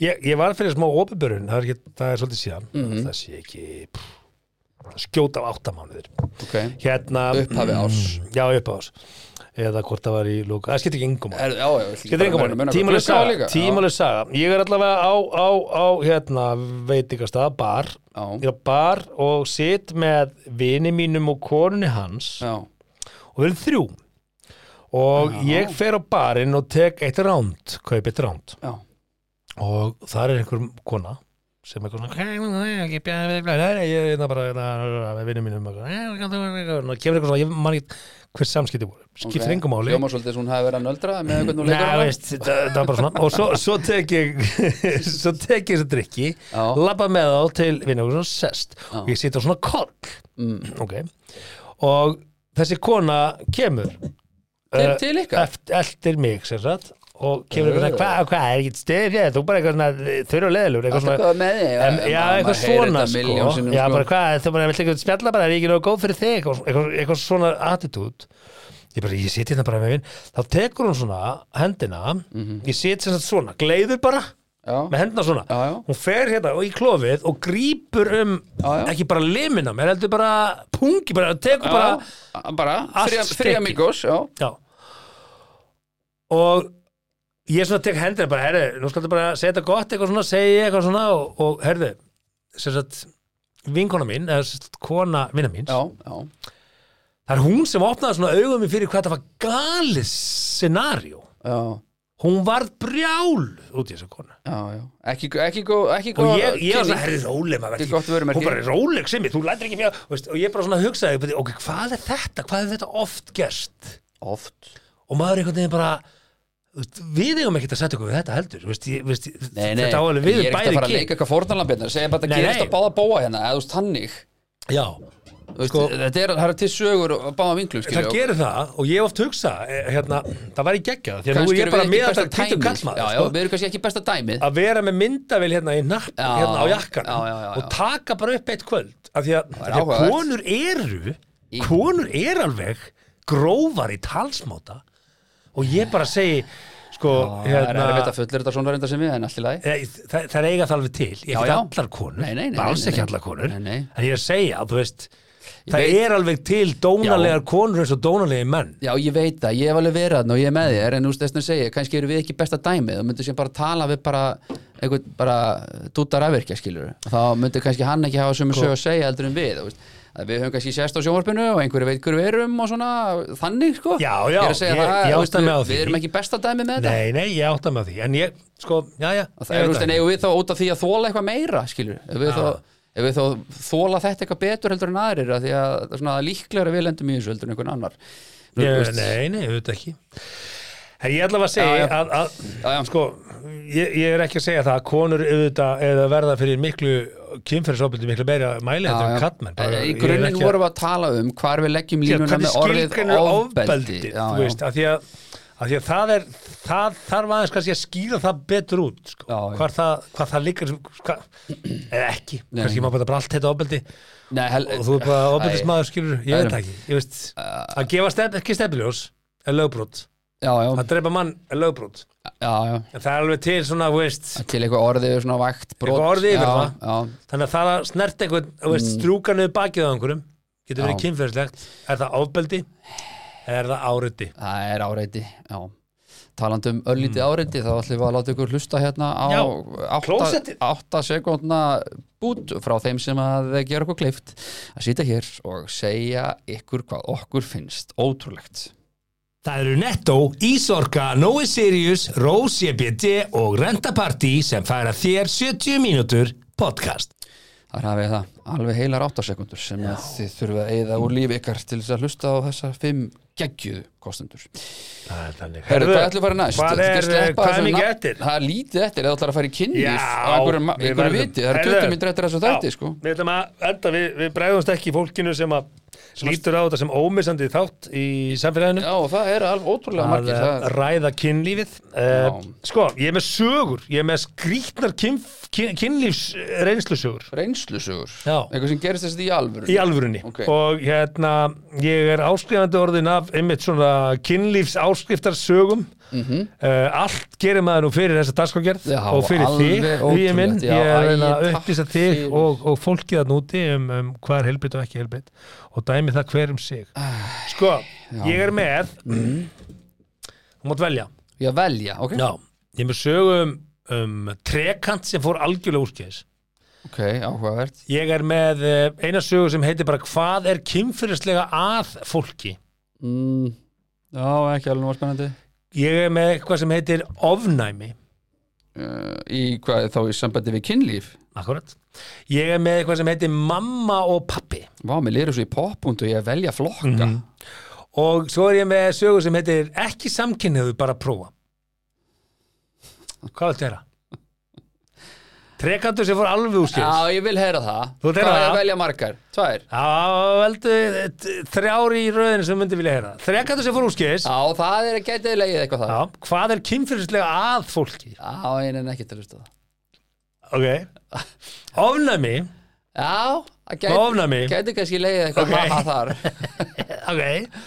ég, ég var fyrir smá opiðbörun það, er ekki- það er svolítið síðan
Mhm.
það sé ekki pff, skjóta á áttamánuðir
okay.
hérna
upphafi árs
já upp á ás eða hvort það var í lóka það skiptir ekki engum
Er- já, já,
Getur
ég Eh, bara
engum
muna-
máli,
muna hvað
tímaleg
klukkan var
saga,
líka.
tímaleg saga Ég er allavega á, á, á hérna, veitingastað, bar
Já.
Ég er á bar og sit með vini mínum og konunni hans
Já, já,
og við erum þrjú og ég fer á barinn og tek eitt ránd, kaup eitt ránd
já,
og þar er einhver kona sem er svona ég er hérna bara hérna, með vinum mínum og kemur eitthvað svona, ég man ekki hver samskipti voru, skiptir
ok.
okay. engum máli
Hljómar svolítið svona hafi verið að nöldra með einhvern og
Nei,
leikur hana.
veist, það, það var bara svona og svo, svo tek ég [laughs] svo tek ég þessu drikki
Já.
labba með þá til vinningur og sest og ég sita á svona koll
Mm.
ok og þessi kona kemur
Til-
eh,
til ykkar?
eft- Eftir mig sem sagt og kemur eitthvað svona, hvað, hvað, er ekki stefið fyrir þér? þú bara eitthvað svona, þau eru leðilegur
Alltaf
eitthvað svona
hvað með þig
En, já,
ma- maður
eitthvað
heyrir
svona
þetta
sko
milljón sinnum,
Já,
sko.
bara hvað, þú bara vill ekki spjalla bara er ég ekki nógu góð fyrir þig eitthvað, eitthvað, eitthvað svona attitút Ég bara, ég sit hérna bara með minn Þá tekur hún svona hendina Ég sit sem sagt svona, gleiður bara
Já.
með hendina svona
Mhm. Já, já.
Hún fer hérna og í klofið og grípur um
Já, já.
ekki bara limina mér heldur bara pungi, bara tekur bara
Já, bara
Allt
þrjá-
stykki.
þrjá mingos já,
Já Og ég svona tek hendina bara, herri, nú skal þetta bara segja þetta gott eitthvað svona, segja ég eitthvað svona og, og herri, sem sagt vinkona mín, eða sem sagt kona vinna mín
já, já
það er hún sem opnaði svona augum mér fyrir hvað það var galið scenario
Já,
hún varð brjál út í þessu konu
já, já Ekki, ekki góð ekki
og
góð
ég, ég var svona,
kynning.
herri, róleg maður
Ekki
vertu-
gott vörumerki.
hún bara, róleg sem ég, þú lætir ekki mér veist, og ég bara svona hugsaði, beti, ok, hvað er þetta hvað er þetta oft gerst
Oft
og maður einhvern veginn bara þú veist, við eigum ekkert að setja okkur við þetta heldur þú veist, ég, þú veist,
Nei, nei,
þetta áhverju við um
ég er ekkert að
bæði
fara að
kyn
leika eitthvað fórnalambiðna Segja bara að
Nei,
það gerist
nei.
að báða bóa hérna Eða þú veist hannig
já,
Þú veist, Þetta er, það er til sögur að báða vinglum skilju,
Sko- það
og-
gerir það og ég hef oft hugsa hérna, það væri geggjað því að nú er
Kannski erum
ég bara
við ekki
með
besta
þetta kvítum
dæmið. Já, já,
kallmaður
við erum kannski ekki besta dæmið
sko. að vera með myndavél hérna í napp
Já,
hérna á jakkan
já, já, já, já.
og taka bara upp eitt kvöld af því að,
er
af því að
áhugavert.
konur eru konur er alveg grófar í talsmáta og ég bara segi sko,
Það er
hérna
erfitt að fullir þetta svona reyndar sem við En allt í lagi
Nei, Það, það er eiga það alveg til, ég
Já,
ekki
já.
allar konur
Nei, nei, nei,
alls
nei,
ekki
nei.
allar konur
Nei, nei.
en ég er að segja, þú veist það
veit-
er alveg til dónalegar konur eins og dónalegi menn
Já, ég veit það, ég hef alveg verið þarna og ég er með þér en þú veist þess að segja, kannski eru við ekki besta dæmið og myndu sem bara tala við bara einhvern bara tútar afvirkja skilur þá myndu kannski hann ekki hafa sömu sög að segja heldur en við, þú veist að við höfum kannski sérst á sjónvarpinu og einhverju veit hverju við erum og svona þannig sko
Já, já,
ég er að segja
ég-
það,
ég
þú
átta mig á
við,
því.
við erum ekki besta dæmið með þetta
Nei, nei, ég átta mig á því en ég, sko, já, já
og það
ég veit
er, þú veist, en eigum við þá út af því að þóla eitthvað meira skilur, ef við, þá, ef við þá þóla þetta eitthvað betur heldur en aðrir að því að það er svona líklegra við lendum í þessu heldur en einhvern annar Þú
Ég,
veist,
nei, nei, auðvitað ekki En ég ætla að segja
Já, já.
Að, að,
Já, já.
sko, ég, ég er ekki að segja það að konur auðvitað eða verða fyrir miklu kynferðisofbildi miklu meira mæli heldur en kattmenn
Eh, í grunninn vorum við að tala um hvar við leggjum línuna með orðið ofbeldi
ofbeldi, þú veist, af því að Af því að það er, það þarf aðeins kannski að skýra það betur út, sko,
Já, já.
Hvar, það, hvað það liggur, hvað, eða ekki,
Nei.
kannski maður bara allt þetta ofbeldi
Nei, hel,
og þú er bara
Æ,
ofbeldismadur skilur,
Það
ég
er-
veit það ekki, ég veist, að gefa stef, ekki stefniljós er lögbrot,
já, já,
að drepa mann er lögbrot
já, já.
en það er alveg til svona, þú veist
til eitthvað orðið yfir svona vægt brot
Eitthvað orðið yfir
já,
það.
já,
þannig að það að snert einhvern, þú veist, strúka niður bakið á einhverjum getur verið
Mm. Já.
kynferðislegt er það ofbeldi eða er það áriði
það er áreiti já. talandi um öllítið mm. áreiti þá ætlum við að láta ykkur hlusta hérna á
Já,
8,
klósettið.
8 sekundna bút frá þeim sem að gera okkur kleift að sitja hér og segja ykkur hvað okkur finnst ótrúlegt
Það eru Netto, Ísorka, Nói Sirius, Rós EBD og Renta Party sem færa þér 70 mínútur podcast.
þar hafið þið það alveg heilar 8 sekundur sem að þið þurfið að eyða úr lífi ykkar til þess að hlusta á þessar 5 geggjuðu kostendur Herru, hvað ætlum við að fara næst?
hvað
Þú
er,
getur sleppa
hvað er
þessu
mikið
nafn-
eftir?
Það er lítið eftir, eða ætlar að fara í kynlíf
Já,
á einhverju ma-
við
einhverju
verðum.
viti, það eru
Heyrðu.
20 myndir eftir þessu þætti
Já,
sko
Við ætlum að enda, við, við bregðumst ekki fólkinu sem að lítur á þetta sem ómissandi þátt í samfélaginu
Já, og það er alveg ótrúlega
að
margir
eh,
það,
ræða kynlífið uh,
Já.
Sko, ég er með sögur ég er með skrýtnar kyn, kyn, kynlífs reynslusögur
Reynslusugur,
Já.
eitthvað sem gerist þess að í alvöru
í alvörunni
Ok.
og hérna ég er áskrifandi orðin af einmitt svona kynlífs áskriftarsögum Eh, allt gerir maður nú fyrir þessa dagskókjörð
Mhm. Já,
og fyrir
alveg
þig, hugið minn
ótrúlegt, já,
ég er að reyna
æ,
að
takk
upplýsa þig
fyrir.
og, og fólkið að núti um, um hvað er helbriðt og ekki helbriðt og dæmi það hver um sig sko, ég er með þú mátt velja
Mhm. Já, velja, ok,
já, ég er með sögum um trekant sem fór algjörlega úrskeiðis
ok, áhugavert
Ég er með eh, eina sögu sem heitir bara hvað er kynfyrirslega að fólki
mm, Já, ekki alveg var spennandi
Ég er með eitthvað sem heitir ofnæmi
uh, Í hvað, þá í sambandi við kynlíf
Akkurat Ég er með eitthvað sem heitir mamma og pappi
Vá, mér lýrur svo í poppunt og ég að velja flokka
Mhm. Og svo er ég með sögu sem heitir ekki samkynniðu bara prófa Hvað viltu þeirra? Trekantur sem fór alveg úrskils
Já, ég vil heyra það
Þú vilt heyra
Hvað er
það?
að velja margar? Tvær?
Já, veldu eh, t- þrjár í rauðinu sem myndi vilja heyra Trekantur sem fór úrskils
Já, það er að gæti legið eitthvað það
Já, hvað er kynfyrirslega að fólki?
Já, ég nenni ekki til að hlusta á það
Ok Ofnæmi
Já, það gæti,
Ofnæmi.
gæti kannski leiðið eitthvað
Ok.
okay. haha þar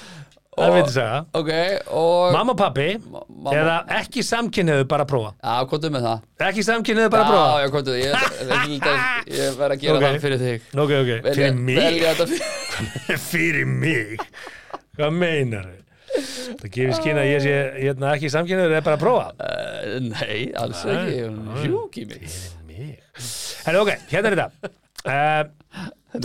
Ok, það veitir sagða
Ok, og
Mamma og pappi
mamma-
eða ekki samkynniðu bara að prófa
Já, komdu með það
Ekki samkynniðu bara að prófa
Já, já, komdu, ég, ég,
[laughs]
ég, ég verð að gera
Ok.
það fyrir þig
Ok, ok, fyrir mig
Velja þetta fyrir
[laughs] Fyrir mig Hvað meinar þau? Það gefur skyn að ég sé hérna, ekki samkynniður eða bara að prófa
Eh, Nei, alls ekki, hún hjúki mig
Mig Herra, ok, hérna er þetta Uh,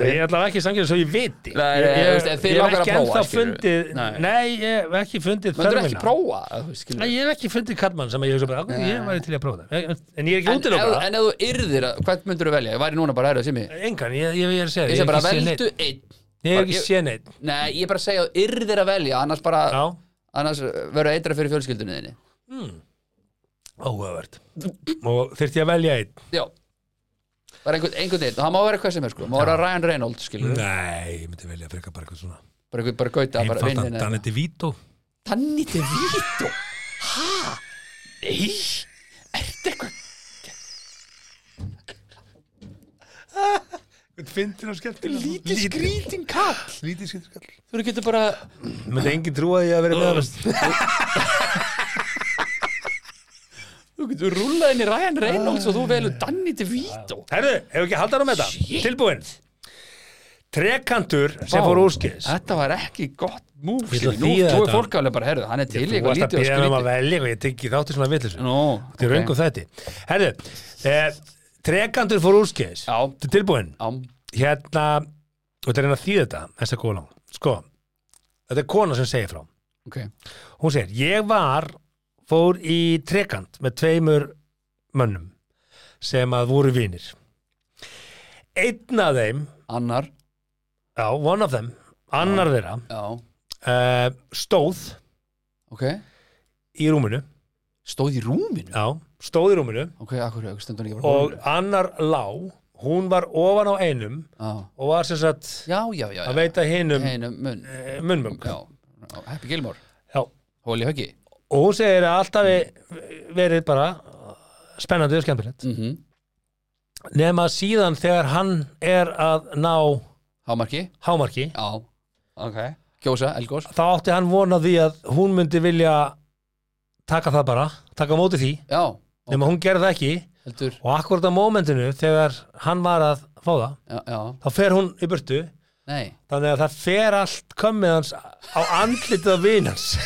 ég ætla ekki samkynniður svo ég viti
Nei, nei,
Ég-
þú
ég,
veist, ef þið
ég hef
langar að
ekki
prófa,
ennþá
skilurðu.
fundið
Nei.
Nei, ég hef ekki fundið
Möndur ekki
þörfina.
prófa að þú skilur
Nei, ég hef ekki fundið kallmann sem að ég hef svo bara, ok, ég væri til í að prófa það En- En ég er ekki
En ef
útilokað
en ef þú yrðir, að- hvern myndur þú velja? Ég væri núna bara að hæra sem ég
Engan, ég, ég, ég er að segja
Ég sem bara
hef ekki séð
veldu
neitt.
einn
Ég hef ekki
Ég-
séð neitt
Nei, ég er bara að segja að þú yrðir að velja annars bara,
Já,
annars verður eitra fyrir fjölskyldunni þinni
áhugavert Og þyrfti ég að velja einn
Já Bara einhvern, einhvern veginn, það má vera hvað sem er sko Má vera Ryan Reynolds,
Mm.
skilur við
Nei, ég myndi velja frekar bara eitthvað svona
Bara einhvern, bara gauta, bara
Einfaldan
vinnin
Danny DeVito
Danni DeVito Hæ? Nei Ertu eitthvað
Fyndir á skemmtilega
lítið skrýting kall
Lítið skemmtilega
Þú eru getur bara
Myndi engin trúa því að vera með hans
Þú getur rúlað inn í Ryan Reynolds og þú velur Danni DeVito
Herðu, hefur ekki haldað á með þetta?
Shit.
Tilbúin Trekantur sem
Vá.
fór úrskis
Þetta var ekki gott múf
Ég ætla að
Nú,
þýða
þú er
þetta.
fólk alveg bara, herðu, hann er til í
Þú
eitthvað
varst að
lítið og
bíða um að
skrýting
velja og ég tekki þáttir svona vitlis
Nú,
Þetta er raungum þetta Herðu, eh, trekantur fór úrskis
Já.
Þetta er tilbúin
Ám,
hérna og þetta er hérna að þýða þetta, þessa góla sko, þetta er kona sem segir frá
ok
hún segir, ég var fór í trekant með tveimur mönnum sem að voru vinir einn af þeim
Annar,
já, one of them, annar þeirra
já,
uh, stóð
ok
í rúminu
Stóð í rúminu
já, stóð í rúminu
Ok, akkur, stundur ekki bara í
og
rúminu?
annar lá hún var ofan á einum
Já.
og var sem sagt
Já, já, já,
að
já.
veita hinum
Einum munn
eh, munnmöng
Já, já, Happy Gilmore
já,
Hóli Höggi
og hún segir að alltaf hafi verið bara spennandi og skemmtilegt
mm -hmm.
nema síðan þegar hann er að ná
Hámarki
hámarki
Já, ok Kjósa, Elgós
þá átti hann vonað því að hún myndi vilja taka það bara, taka á móti því
já,
nema hún gerði það ekki
heldur
og akkurat á mómentinu þegar hann var að fá það
já, já,
þá fer hún í burtu
nei
þannig að það fer allt kömmið hans á andlitið af vinans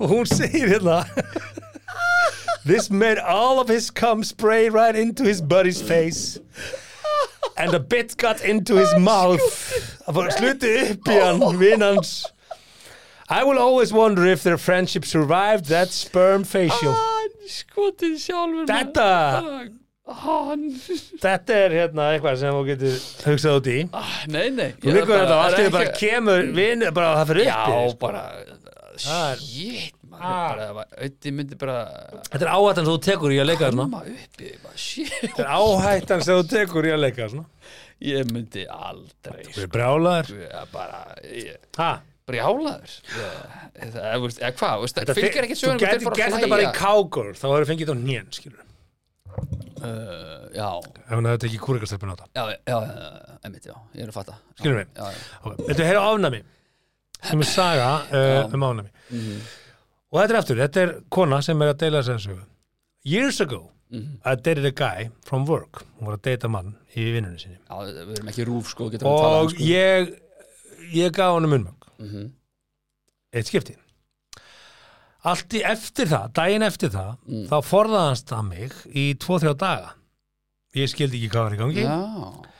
og hún segir hérna This made all of his cum spray right into his buddy's face and a bit got into his mouth Það var slutið upp í hann, vinans I will always wonder if their friendship survived that sperm facial
hann skotið sjálfur maður.
Þetta
hann
Þetta er hérna eitthvað sem þú getur hugsað út í
Ah, nei, nei
Þú
Ég er
líkur þetta,
það
allt
er
er bara
ekki-
kemur vinu, bara það fyrir
já,
upp
bara
Það er-
shit,
Ah.
maður bara, auðvitað myndi bara
Þetta er áhættan sem þú tekur í að leika þarna
Mamma uppi, bara, shit
Þetta er áhættan sem þú tekur í að leika þarna
Ég myndi aldrei
Þú er brjálaður
sko, ég bara ég-
Ha,
brjálaður Ég- eða eða, veist, eða hvað, veist,
þetta
fylgir ekki
Þú
sögur
getur gert þetta bara í cowgirl þá hefur fengið þetta á nén, skilur
Eh, já,
ef hann hefði tekið kúrikastelpun á það
já, já, já, já, einmitt, já, ég er að fatta
Skilur mig
já, já,
Ok, Þetta er hefur ofnami sem er saga
Já. Mhm.
uh, um ofnami og þetta er aftur, þetta er kona sem er að deila þess að sögu Years ago
Mhm.
I dated a guy from work hún var að deyta mann í vinnunni sinni
já, við erum ekki rúf, sko, getum við talað
og
Mhm. um, sko.
ég ég gaf honum unnmöng eitt skipti allt í eftir það, daginn eftir það
Mm.
þá forðaðast það mig í 2-3 daga ég skildi ekki hvað var í gangi
Já,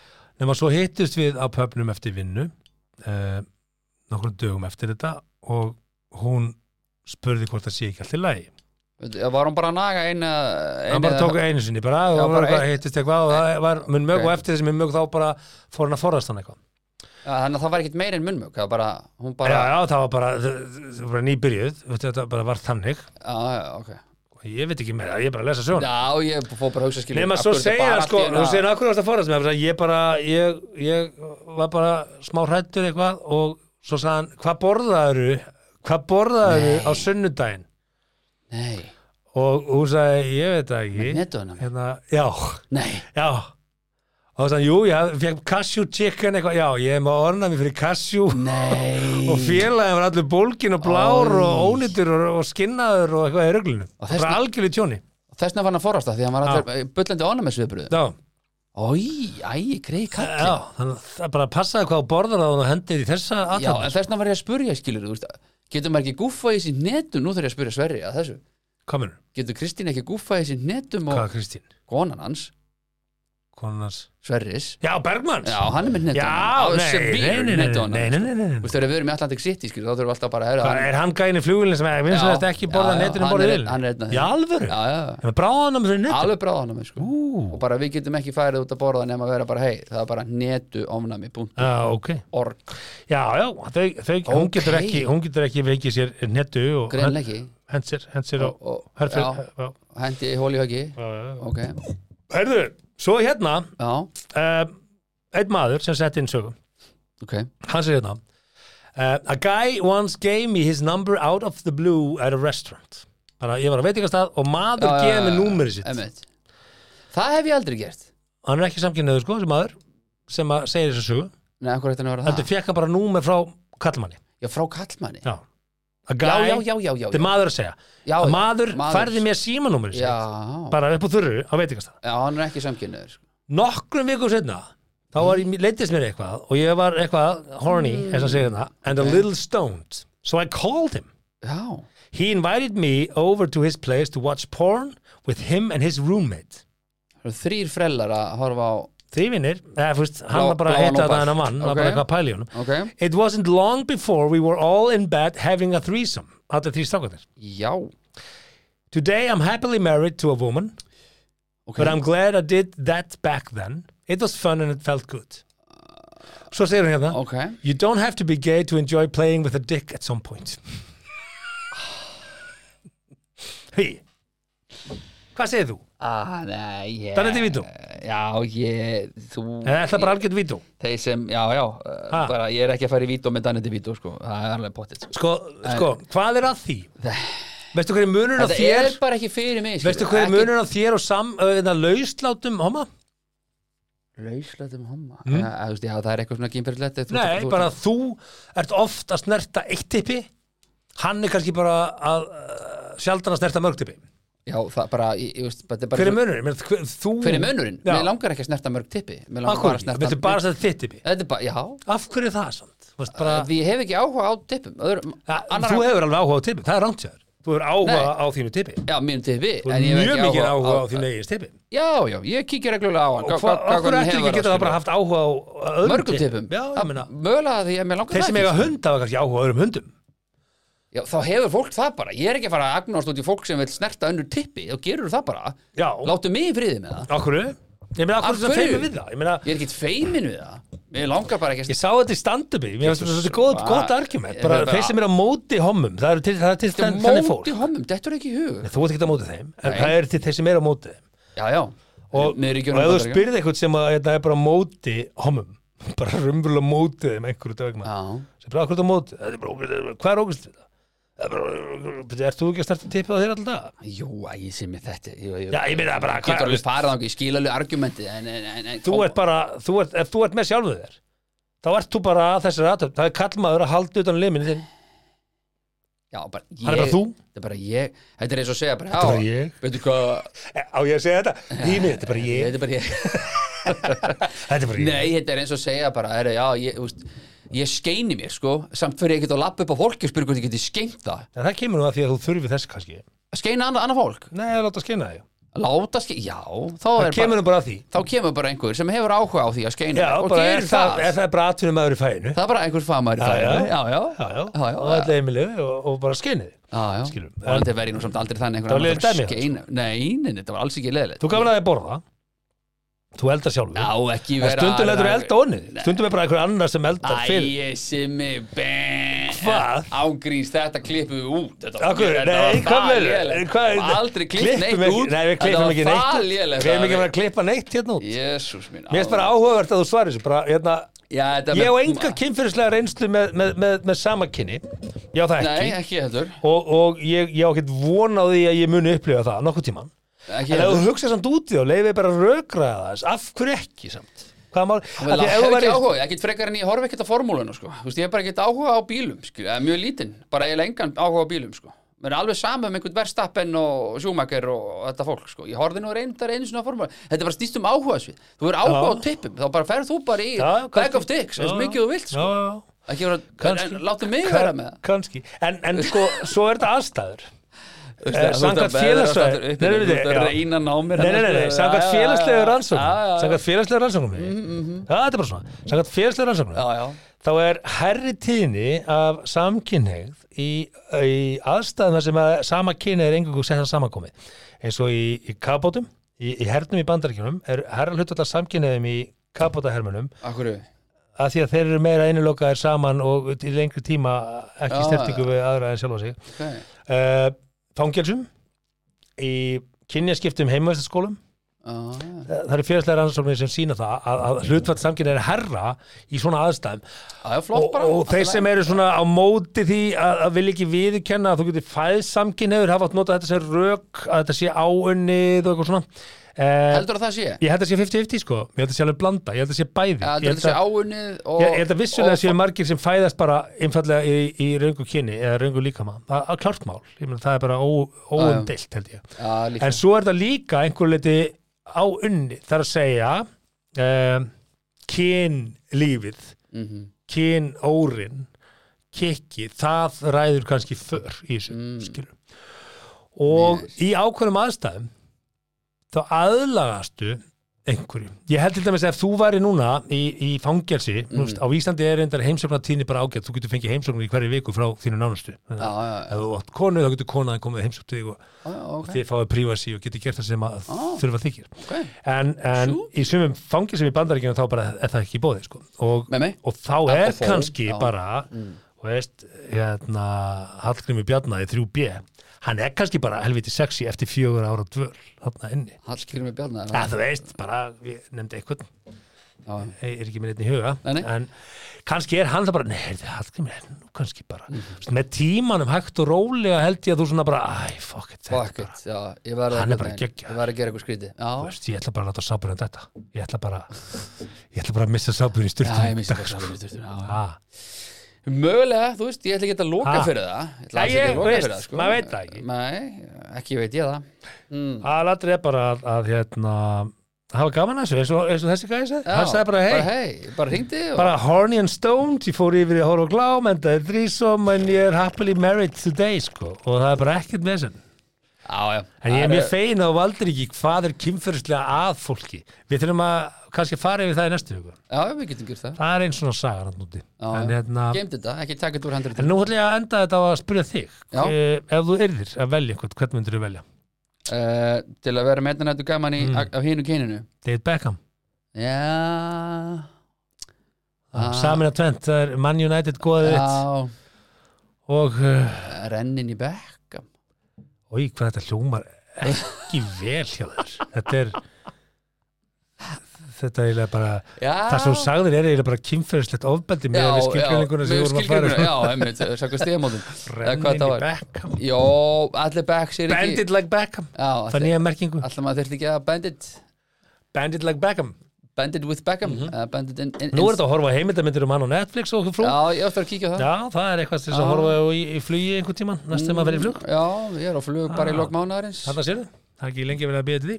nema svo hittust við á pöpnum eftir vinnu uh, nokkrum dögum eftir þetta og hún spurði hvort það sé ekki allt í lagi
Veitu, var hún bara að naga eina
hann bara tók einu sinni bara,
Já,
já,
bara
bara, bara
eitt-
hittist eitthvað og það var mun mög
Ok.
og eftir þessi mun mög þá bara fór hann að forðast hann eitthvað
Þannig að það var ekkert meir en munnmjög Það var bara, hún bara
já, já, það var bara, það var bara nýbyrjuð veistu, þetta bara var þannig
já, já, ok
og ég veit ekki meira, ég er bara að lesa söguna
Já, ég fór bara að hugsa skilur
nema
af
svo
hverju þetta
segir
bara
hann
allt í
sko,
einu
hún
að-
segir akkur varst að forðast mig Hann sagði, ég bara, ég, ég var bara smá hrættur eitthvað og svo sagði hann, hvað borðaðu hvað borðaðu á sunnudaginn sko-
Nei,
og hún sagði, ég veit það ekki
netuðunum
hérna, já,
Nei,
já og það sagði, jú, já, fekk cashew chicken eitthvað, já, ég hef maður ornað mér fyrir cashew
nei
og félagin var allur bólgin og blár
Æ.
og ónýtur og, og skinnaður og eitthvað í ruglunum,
Og
það var
þessna-
algjörlega tjóni
Þessna var hann að forast það því hann var allir bullandi ánum með sviðbröðu
já,
Í, æ, greið kall
já, þannig að það bara passaði hvað þú borðar að hún hendir í þessa
Já,
aðtöfn,
en þessna var ég að spurja skilur þú veist, Getur maður ekki gúffað í sín netum Nú þarf ég að spurja Sverri að þessu
hvað mennur,
Getur Kristín ekki gúffað í sín netum og
hvað Kristín
konan hans,
konunars,
Sverris
já, Bergmanns
Já, hann er með netum
já, nei, nei, nei, nei, nei, nei, nei, nei,
Þú
nei.
veist, þegar við erum í Atlantic City, skilur, þá þurfum við alltaf bara að
Hvað, er hann gæðin í flugulinn sem er vinsanlega ekki borða
já, já,
netinu
hann
borðið
er-
vil?
hann er einn af
Í alvöru?
Já, já, já,
Ég með bráðan um þessu netu?
alveg bráð hann með, sko Og bara við getum ekki færið út að borða nema að vera bara, hei, það er bara netuofnami.org
Já, ok. Já, já, þau, þau, hún,
Ok.
getur ekki, hún getur ekki veikið sér netu og
Greinleiki
hent sér, hent sér á
Og- og-
herfyr.
já. Hendi í hóli höggi Ok,
Herðu, svo hérna,
já,
uh, einn maður sem sett inn sögum,
ok
hann sér hérna, uh, a guy once gave me his number out of the blue at a restaurant. Bara, ég var á veitingastað og maður
Já, já,
gefið mig
já,
númerið sitt.
einmitt. Það hef ég aldrei gert
Hann er ekki samkynniður, sko, sem maður, sem að segir þessu sögu.
Nei, af hverju ætti hann að vera
Heldur
það?
fekk hann bara númer frá kallmanni.
Já, frá kallmanni
Já. A
Já,
guy,
já, já, já, já
þetta er maður að segja.
já,
að
já.
maður, færði mér símanúmerið
Já,
sitt bara upp á þurru á veitingastæð
já, hann er ekki sko. samkynniður
nokkrum vikum setna þá var ég, leittist mér eitthvað og ég var eitthvað horny,
Mm.
eins og segja þetta and a little stoned, so I called him
Já,
he invited me over to his place to watch porn with him and his roommate
það eru þrýr frellar að horfa á
því vinnir, eða fyrst, hann
Blá-
var bara að heita
bláan ópal.
það hennar mann, var
Ok.
bara eitthvað að pæla í honum
Ok,
it wasn't long before we were all in bed having a threesome, allir því stákandir
já Ok,
today I'm happily married to a woman But I'm glad I did that back then. It was fun and it felt good. Svo segir hann hérna.
ok
You don't have to be gay to enjoy playing with a dick at some point. [laughs] Hví. Hvað segir þú?
Ah, nei, ég
Danni DeVito.
Já, ég, þú
Eða er það bara algjörn vító?
Þeir sem, já, já eh,
Ha?
bara, Ég er ekki að fara í vító með Danny DeVito, sko Það er alveg pottitt, sko
Sko, sko, hvað er að því? Veistu hverju munur á
Þetta
þér?
er bara ekki fyrir mig skilur.
Veistu hverju
Ekki-
munur á þér og sam, uh, lauslátum, homa?
lauslætt um homma mm. ja, þú veist, já, það er eitthvað svona kynferðislegt þú-
Nei,
þú-
bara þú ert oft að snerta eitt tippi hann er kannski bara að uh, sjaldan að snerta mörg tippi
já, það bara, ég, ég veist, þetta er bara
Hver er munurinn? Menn, hver, þú...
hver er munurinn?
Já,
mér langar ekki að snerta mörg tippi mér langar
akkur,
bara að snerta
viltu bara að snerta þitt tippi?
þetta er bara, já,
Af hverju er það samt? Þú veist bara,
við hef ekki áhuga á tippum öðrum,
ja,
annarra-
þú hefur alveg áhuga á tippi, það er rangt hjá þér Þú hefur áhuga
Nei.
á þínu tippi
já, mínum tippi
Þú hefur mjög mikið áhuga á þínu eigin tippi
já, já, ég kíkja reglulega á hann
Og hvað, okkur eftir ekki geta það bara haft áhuga á á öðrum
mörgum tippum
Já, ég meina
mögulega því að mér langar
Þeir
það
sem
ekki,
eiga
sko.
hund hafa kannski áhuga á öðrum hundum
Já, þá hefur fólk það bara, ég er ekki að fara að agnast út í fólk sem vil snerta önnur tippi, þá gerur það bara
Já.
Láttu mig í friði með það
Okkur, ég meina
Af
okkur sem
hverju?
feimur við það Ég meina,
Ég er ekkert feimin við það Mér langar bara ekki
Ég
að
sá þetta í stand-upi, mér finnst þetta svo gott,
Bara-
gott argument,
Ég-
bara
bara-
þeir sem eru á móti hommum, það eru til, það er til
Þetta er
þenn, þenni fólk,
móti homum, þetta er ekki í hug
Nei, þú ert ekki á móti þeim, en
Nei.
það eru til þeir sem eru á móti þeim
Já, já
og,
Niður í
og
gjörnum
ef þú
Bandaríkjunum.
spyrði eitthvað sem að, þetta er bara á móti hommum, [laughs] bara rumvulega móti þeim einhverju dagum,
Já,
sem bara akkur á móti, þetta er bara, ógeðslega- hvað er ógæst við það? Það er bara, Ert þú ekki að starta tippið á þér alltaf dag?
jú, að ég sé mér þetta Ég, ég
Já, ég meina bara,
getur
hvað,
alveg farið þannig, ég skil alveg argumenti en, en, en, en,
þú ert bara, þú ert, ef þú ert með sjálfuð þér, þá ert þú bara að þessari aðtöfn, það er kallmaður að halda utan liminu þinn,
Já, bara ég
hann er bara þú.
Þetta er bara ég Þetta er eins og að segja bara
Þetta er
já,
bara ég.
Veitu hvað
Eh, Á ég að segja þetta? Hými, þetta er bara ég
Þetta er bara ég
Þetta er bara ég
[laughs] Nei, þetta er eins og að segja bara er, já, ég, þú veist, ég skeini mér sko Samt fyrir ég get að lappa upp á fólki og spyrir hvort ég geti skeint það
En það kemur nú að því að þú þurfi þess kannski
Skeina annað anna fólk
Nei, ég láta skynna þig
Láta skeina Já, þá
Það
er
kemur nú bara að því
þá kemur bara einhver sem hefur áhuga á því að skeina
Já,
og
bara
gerir
er
það,
það, er það bara atvinnum aður í fæinu
það er bara einhver famar í
Já,
fæðinu
já.
já, já,
Já, já,
já,
og allir heimilu og, og bara skynnið
já, já.
Skilum.
og þetta verði nú samt aldrei þannig
Það var
einhver annar
leiðilegt
bara
dæmi, það,
skeina nei, nei, nei, þetta var alls ekki leðilegt
Þú gafur að þið borða Þú eldar sjálfur
já, ekki
En
vera
stundum lætur þú elda onnið
Nei.
Stundum er bara einhver annar sem eldar fyrir
Æ, simmi, bæ
Hvað?
Ángríns, þetta klippum við út Þetta var-
Akkur,
þetta var
nei, hvað
það
verður?
lélegt.
Hvað-
Það var Aldrei klippt
Klippum
neitt
ekki-
út
Nei, við klippum ekki neitt
Það
út.
var lélegt
Við erum ekki að fara að klippa neitt hérna út Mér
Jésús minn
finnst bara áhugavert að þú svarir þessu bara, hérna,
Já, þetta
Ég á
með-
enga kynfyrirslega reynslu með, með, með, með sama kynni Já, það
Nei,
ekki
ekki heldur
og, og ég, ég á ekkert von á því að ég muni upplifa það nokkuð tíman
Ekki
en ef
heldur
þú hugsa samt út í þá leiði bara rökraða þess af hverju ekki samt hvað mál
Vel,
að
Það
því ef
hefur
þú
ekki
væri
áhuga, ég get frekar en ég horfi ekkert á formúluna sko. Þú veist, ég hef bara ekkert áhuga á bílum skil, eða mjög lítinn, bara ég engan áhuga á bílum sko. Mér er alveg sama um einhvern verstappen og sjúmakar og þetta fólk sko. Ég horfði nú reyndar einu svona formúla Þetta er bara snýst um áhuga svið Þú er áhuga á tippum, þá bara ferð þú bara í
Já,
back
kannski.
of dicks, eins
Já.
mikið þú vilt
já,
sko.
já, já.
Ekki vera,
Kannski.
en, láttu mig
Kann-
vera með það
kannski en, en sko, svo er þetta aðstæður Eh,
Þú
samkvæmt
ert að veðrast
félagsfræði-
aftur upp í
Nei, nei,
þér, þú ert
nei,
að
já.
reyna að ná mér hérna, sko.
Nei, nei, nei, nei, samkvæmt félagslegu
Já, já, Mhm,
rannsóknum
já.
samkvæmt félagslegu rannsóknum Já, þetta er bara svona, samkvæmt félagslegu rannsóknum
Já, já.
þá er herri tíðni af samkynneigð í, í aðstæðum þar sem að sama kynneigð er engungu setja samankomið eins og í, í kabótum, í, í hernum í bandaríkjunum er herra hlutallar samkynneigðum í kabótahermunum
Af hverju?
að því að þeir eru meira einilokaðir saman og í lengri tíma ekki
Já,
snertingu við aðra en sjálfa sig
Okay.
uh, fangelsum í kynjaskiptum heimavæstaskólum
Ah, já.
það eru félagslega rannsóknir sem sína það að, að hlutfall samkynneigð er herra í svona aðstæðum
Já, já, flott
og,
bara
og
allt í
þeir
lagi.
sem eru svona á móti því að, að vilja ekki viðurkenna að þú getur fæð samkynniður hafa átt notað þetta sem rök að þetta sé áunnið og eitthvað svona eh,
Heldur að það sé?
ég held að sé 50-50 sko ég held að sé alveg blanda, ég held að sé bæði
Já,
ég
þetta er
held
þessi
að,
áunnið og...
ég, ég held að vissulega
og-
séu margir sem fæðast bara einfallega í, í raungu kyni eða raungu líkama, það er klart mál ég meina það er bara ó- óumdeilt held ég
Já, líka.
en svo er það líka einhver leiti áunnið, það er að segja eh, kynlífið
Mhm.
kyn, órin kikki, það ræður kannski för í þessu,
Mm.
skilur og
Yes.
í ákveðnum aðstæðum þá aðlagastu einhverju. Ég held til dæmis að ef þú væri núna í, í fangelsi, mm. veist, á Íslandi er reyndar heimsóknartíðni bara ágætt, þú getur fengið heimsóknir í hverju viku frá þínu nánustu.
Já,
Þannig að
já, já,
Ef þú átt konu, þá getur konaðin komið heimsókn til þig og
já, ok,
þið fáið privacy og getur gert það sem að
Ah.
þurfa þykir.
ok.
En, en í sumum fangelsum í bandaríkjunum þá bara er það ekki bóðið, sko. Og
Með mig?
og þá er
og þó,
kannski
já.
bara og veist, hérna Hallgrími Bjarnaði 3B hann er kannski bara helviti sexy eftir fjögur ára dvöl þarna inni,
Hallgrími Bjarnar.
að þú veist bara, ég nefndi einhvern
Já.
er ekki minn einn í huga
Nei, nei.
en kannski er hann það bara nei, heyrðu, Hallgrímur, er nú kannski bara
Mhm.
Þú veist, með tímanum hægt og rólega held ég að þú svona bara, æ, fuck it, þetta
Fuck it, já, ég verði
Hann er
einhvern
bara
veginn-
geggjaður.
Ég verði að gera eitthvað skríti
Þú
Já,
veist, ég ætla bara að láta sábunum þetta ég ætla bara ég ætla bara að missa sábunum í
já, ég
styrtunum
misti það saman í sturtunni, já, já.
ah,
Mögulega, þú veist, ég ætla ekki að loka
Ha?
fyrir það Ég ætla
Nei,
alls ekki
ég-
að loka
veist,
fyrir það, sko
maður veit það ekki.
Nei, ekki veit ég það
aðalatrið er bara að, að hérna, hafa gaman að þessu eins og, eins og þessi gæði
Já,
sagði, hann sagði bara hei
Bara hei, bara hringdi og
bara horny and stoned, ég fór yfir í horf og glám en það er þrísom en ég er happily married today sko, og það er bara ekkert með þessu
Já, já
En ég er
Það
mjög fegin að þú valdir ekki hvað er kynferðislega að fólki. Við þurfum að kannski fara yfir það í næstu huga.
Já, já, við getum gjort það
Það er einn svona sagan hann úti.
Já,
En,
já.
hérna,
Geymdi þetta, ekki taka þetta úr hendur
en nú ætlum ég að enda þetta á að spyrja þig.
Já.
Eh, ef þú yrðir að velja einhvern, hvern myndir þú velja?
uh, Til að vera með þetta nættu gaman
Mm.
í, af hinu kyninu
David Beckham.
Já
Ah. Samin að tvent, það er Man United goðið þitt.
Já,
Og, uh,
rennin í bekk
oi, hvað þetta hljómar ekki vel hjá
[laughs]
þér. Þetta er, þetta er eiginlega bara,
Já
það sem þú sagðir er eiginlega bara kynferðislegt ofbeldi með við skilgreininguna sem við vorum að fara.
skilgreininguna, Já, einmitt, sakka stíðamótin
Rennin í Beckham.
Jó, allir Beck sér ekki
Bandit like Beckham.
Já,
Það er
allir,
nýja merkingu
allir maður þurfti ekki að bandit
Bandit like Beckham
Bandit with Beckham mm Bandit in, in,
Mhm. Nú er þetta að horfa á heimildamindir um hann á Netflix og frú Já,
Já, ég ætti að kíkja á það
það er eitthvað til þess að horfa á í, í flugi einhvern tíman næstum að vera í flug Ah.
Já, ég er á flug bara í lok mánuðarins
Mm.
uh,
Þarna sérðu, það er ekki lengi verið að bíða til því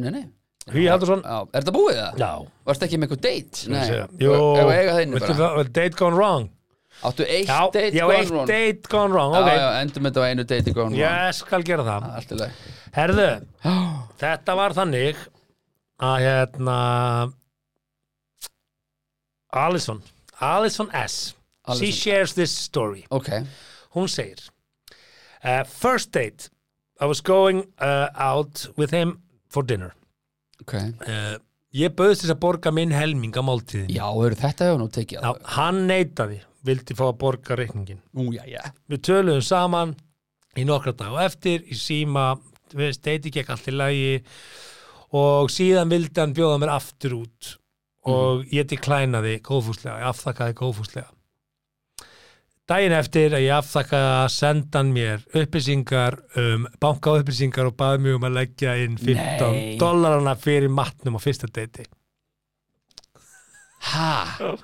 Nei, nei
Hugi Haldursson
Já, er þetta búið það?
Já,
Varst ekki með eitthvað date? Nei,
segja.
Jú, ef eiga það inni
viltu
bara
það- Date gone wrong
Áttu eitt
Já,
date
já,
gone
eitt
wrong?
date gone wrong ok.
Já, já, endum þetta á einu date gone wrong
Ég skal gera það
Allt í lagi [gasps]
Herðu, þetta var þannig að hérna Allison Allison S She
Alison.
shares this story
Ok,
hún segir uh, First date I was going uh, out with him for dinner
ok
uh, Ég bauðst þess að borga minn helming á máltíðin
Já, eru þetta hefur nú tekið
Já, Hann neitaði, vildi fá að borga reikningin
Ú, já, já
Við töluðum saman í nokkra dag og eftir í síma, við veist, deiti gekk allt í lagi og síðan vildi hann bjóða mér aftur út og
Mhm.
ég deklænaði góðfúslega, ég afþakkaði góðfúslega daginn eftir að ég afþakkaði að senda hann mér upplýsingar um bankaupplýsingar og baði mig um að leggja inn 15
Nei.
dollarana fyrir matnum á fyrsta deiti
Hæ?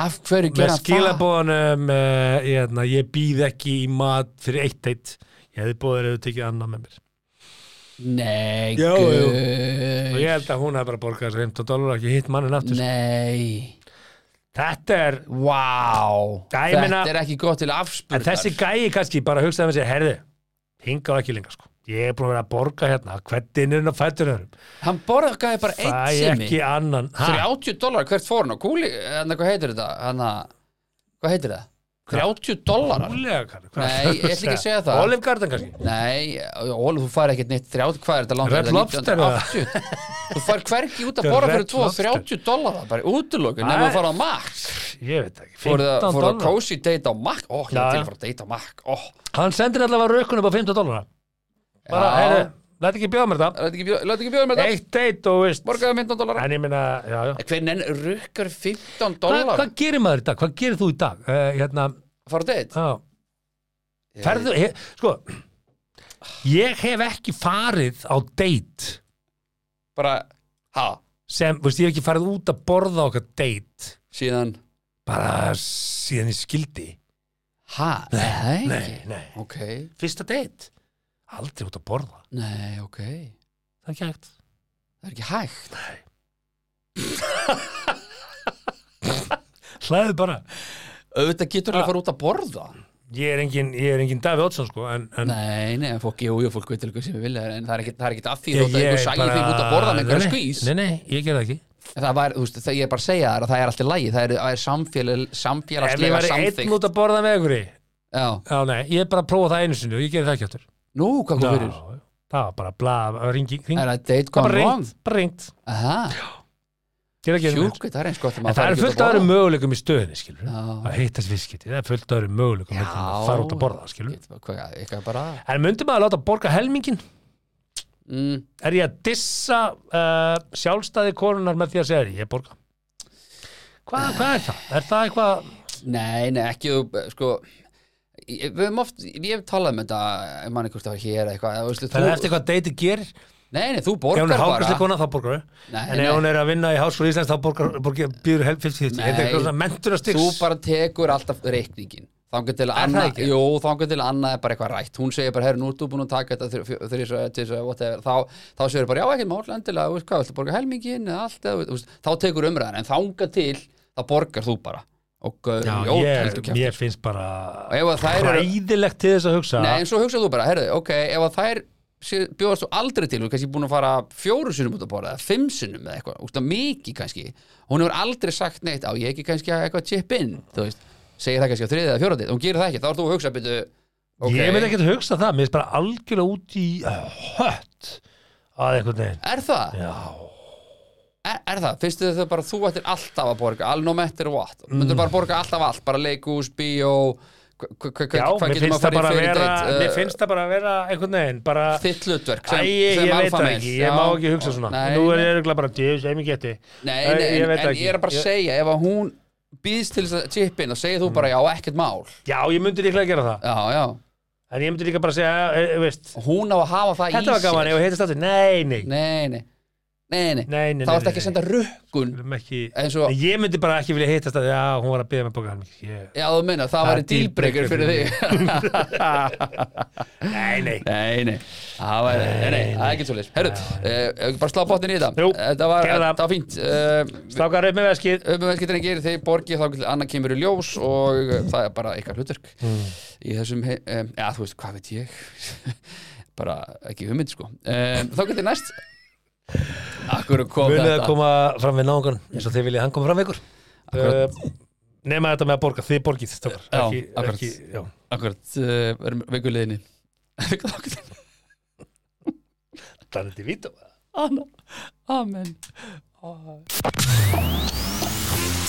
Af hverju
með
gera hann það?
skilabóðanum uh, ég, hérna, ég býð ekki í mat fyrir eitt deitt ég hefði bóðið að þau tekið annað með mér
Nei,
Já, og
guð
ég held að hún hefði bara borgað þessi 15 dólar ekki hitt mannin aftur
Nei
þetta er,
Vá
Já, ég meina-
Þetta er ekki gott til afspurnar
en þessi gæi kannski bara hugsaði með sér, herði, hingaðu ekki lengra sko. ég er búin að vera að borga hérna hvernig er hann að fættur öðrum
Hann borgaði bara eitt
það er
simi
ekki annan ha,
30 dólar hvert fór hann á kúli Þannig hvað heitir þetta? Hanna, hvað heitir það? 30 dólarar
Ólega, Karl, hvað
Nei,
ertu
ég ætla ekki að segja það.
Olive Garden kannski
Nei, Óli, þú fær ekkert neitt 30, hvað er þetta langt?
Red
Er þetta
Lobster eða?
1980? Þú fær hvergi út að
Þetta er
borða
Red
fyrir 2
Lobster.
30 dólarar, bara útlöku nema
Nei.
að fara á Max
ég veit það ekki,
Fór
15
það að
dólar
cozy date á Mac Ó, ég
Já.
er til að fara að date á Mac Ó,
hann sendir allavega rökkun upp á 15 dólar bara,
Já.
herði, læt ekki bjóða mér það
læt ekki bjó- læt ekki bjóða með þetta
eitt deitt og veist
Borgaði 15 dólarar
en ég minna, já, já
Hver nenn rukkar 15
Hva,
dólar
hvað gerir maður í dag, hvað gerir þú í dag uh, hérna,
Fara á date
á, ferðu he, sko ég hef ekki farið á date
Bara, ha,
sem, veist, ég hef ekki farið út að borða á okkar date
síðan
bara síðan ég skildi
Ha, nei,
nei, nei,
Ok,
fyrsta date aldrei út að borða,
nei, ok
það
Það
er ekki hægt
er ekki hægt
hlæðu bara,
Auðvitað getur alveg að fara út að borða
ég er engin, ég er enginn Davi Oddsson sko, en, en
Nei, nei, en fólk, jú, jú, fólk veit til ykkur sem við vilja en það er ekkit, það er ekkit að því
ég,
þótt að ykkur sæði þig út að borða með einhverja
Nei,
skvís
nei, nei, ég gerði það ekki
það var, þú veist, það, ég er bara að segja þar að það er alltaf lægi það er, það er samfélag,
ef ég
samfélagslega
væri einn
samþygt
út að borða með ykkur
Já,
Já, nei, ég er bara að prófa það einu sinni og ég gerði það ekki aftur.
nú, hvað kom
Já,
fyrir?
Það var bara bla, ringi, ringi.
Er það
Bara
date gone wrong?
ringt, bara ringt.
Aha,
Gerði ekki einu
hjúk, það er eins gott að
En
maður
það
fari
er
ekki út
fullt
að
aðra
borða
möguleikum í stöðinni, skilur.
Já.
Að hittast viðskipti, það er fullt aðra möguleikum
Já.
heldur en að fara út að borða, skilur.
Ég veit bara hvað, Eitthvað bara
En myndi maður láta borga helmingin?
mm,
Er ég að dissa uh, sjálfstæði konunar með því að segja því, ég borga? Hvað, hvað er það? Er það eitthvað
Nei, nei, ekki þú, sko ég- Við höfum oft, ég hef talað um þetta Ég man ekki hvort það var hér eða eitthvað þú veist,
Það
þú-
er eftir hvað deiti gerir
Nei, nei, þú
Ef hún
borgar
er
bara
hákvæmsleikona þá borgar við
Nei,
En ef
nei.
hún er að vinna í háskóla Íslands þá borgar, borgar býður helf 50-50 Þetta er
Nei.
eitthvað svona mentunastiks
Þú bara tekur alltaf reikningin Þangar til að
Er það
annað,
ekki?
jú, þangar til að annað er bara eitthvað rætt Hún segir bara, herru, nú ertu búin að taka þetta þrjus, tjus, whatever Þá, þá segir bara, já, ekkert mál endilega, þú veist hvað, viltu borga helmingin eða allt, eða, þú veist, þá tekur umræðan en þangar til, þá borgar þú bara og gaur,
Já,
jó, heldur
ég,
kjæft
ég finnst bara
Og ef að þær eru
Ræðilegt til þess að hugsa
Nei, en svo hugsaðu þú bara, herðu, ok, ef að þær sé- bjóðast þú aldrei til, þú er kannski búin að fara fjóru sinnum út að borða, eða fimm sinnum eða eitthvað, úst að mikið kannski, hún hefur aldrei sagt neitt, á ég ekki kannski að eitthvað chip in, þú veist, segir það kannski á þriðið eða fjóraðið, hún gerir það ekki, þá ert þú að hugsa, byrju, ok,
Ég myndi ekkert hugsa það, mér finnst bara algjörlega út í uh, hött að einhvern veginn
er það,
Já,
er, er það, finnst þið þau bara þú ættir alltaf að borga, all no matter what,
Mm.
myndur bara borga alltaf allt, bara leikus, bíó, hva- hva- hva-
Já
hvað
mér
getur
finnst
maður
það
að
bara að
fara í fyrir
vera Mér
deitt,
finnst það bara að vera einhvern veginn bara
þitt hlutverk
Æ,
sem,
ég
sem
ég veit
alpha
það
male.
ekki, ég
Já.
má ekki hugsa svona
Nei,
Nú er
nei.
ég örugglega bara, djöfis, ef ég geti
Nei,
Æ,
nei,
ég
en,
veit
en
ekki.
ég er bara að
Ég-
segja ef að hún býðst til þess að tippin og segir þú
Mm.
bara já, ekkert mál
Já, ég myndi líklega að gera það
Já, já,
En ég myndi líka bara að segja, e, e, veist
hún á að hafa það í
Þetta var gaman, ef ég heitist aftur, nei, nei
Nei, nei, nei, nei,
Nei, nei,
Þá
nei,
ertu ekki
nei,
að senda rökkun
Við erum ekki
eins og,
Nei, Ég myndi bara ekki vilja hittast að já, hún var að byrja með bóka hann yeah.
já þú meina, það
Það
væri
er
dílbreykar
dealbreaker
fyrir þig
Nei, nei
[laughs] Nei, nei, það væri, nei, nei, það er ekki svolítið Herru, eh, ef ekki bara slá bóttin í þetta
Jú,
Eh, Þetta var,
gerðu það.
það var fínt Eh,
Slákar upp með veskið
öfumverki drengir, þeir borgi þá getur annar kemur í ljós og það er bara ykkar hlutverk
Mm.
í þessum, hei- um, já þú veist, hvað veit ég [laughs] bara ekki hugmynd sko um, þá getur næst Akkur kom
Munið að
þetta
koma fram við náungan eins og þið viljið hann koma fram við ykkur
Akkurat.
uh, Nema þetta með að borga, þið borgið strákar
Já,
ekki,
akkurat.
ekki, já.
Akkurat, uh, erum veikuleginni [laughs]
Það er þetta í vító
Anna, amen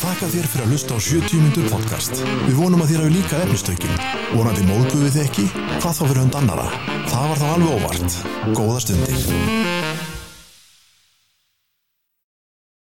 Þakka þér fyrir að hlusta á 70 mínútur podcast. Við vonum að þér hafi líka efnistökin. Vonandi móðguðu þið ekki? Hvað þá fyrir hund annara? Það var þá alveg óvart. Góða stundir.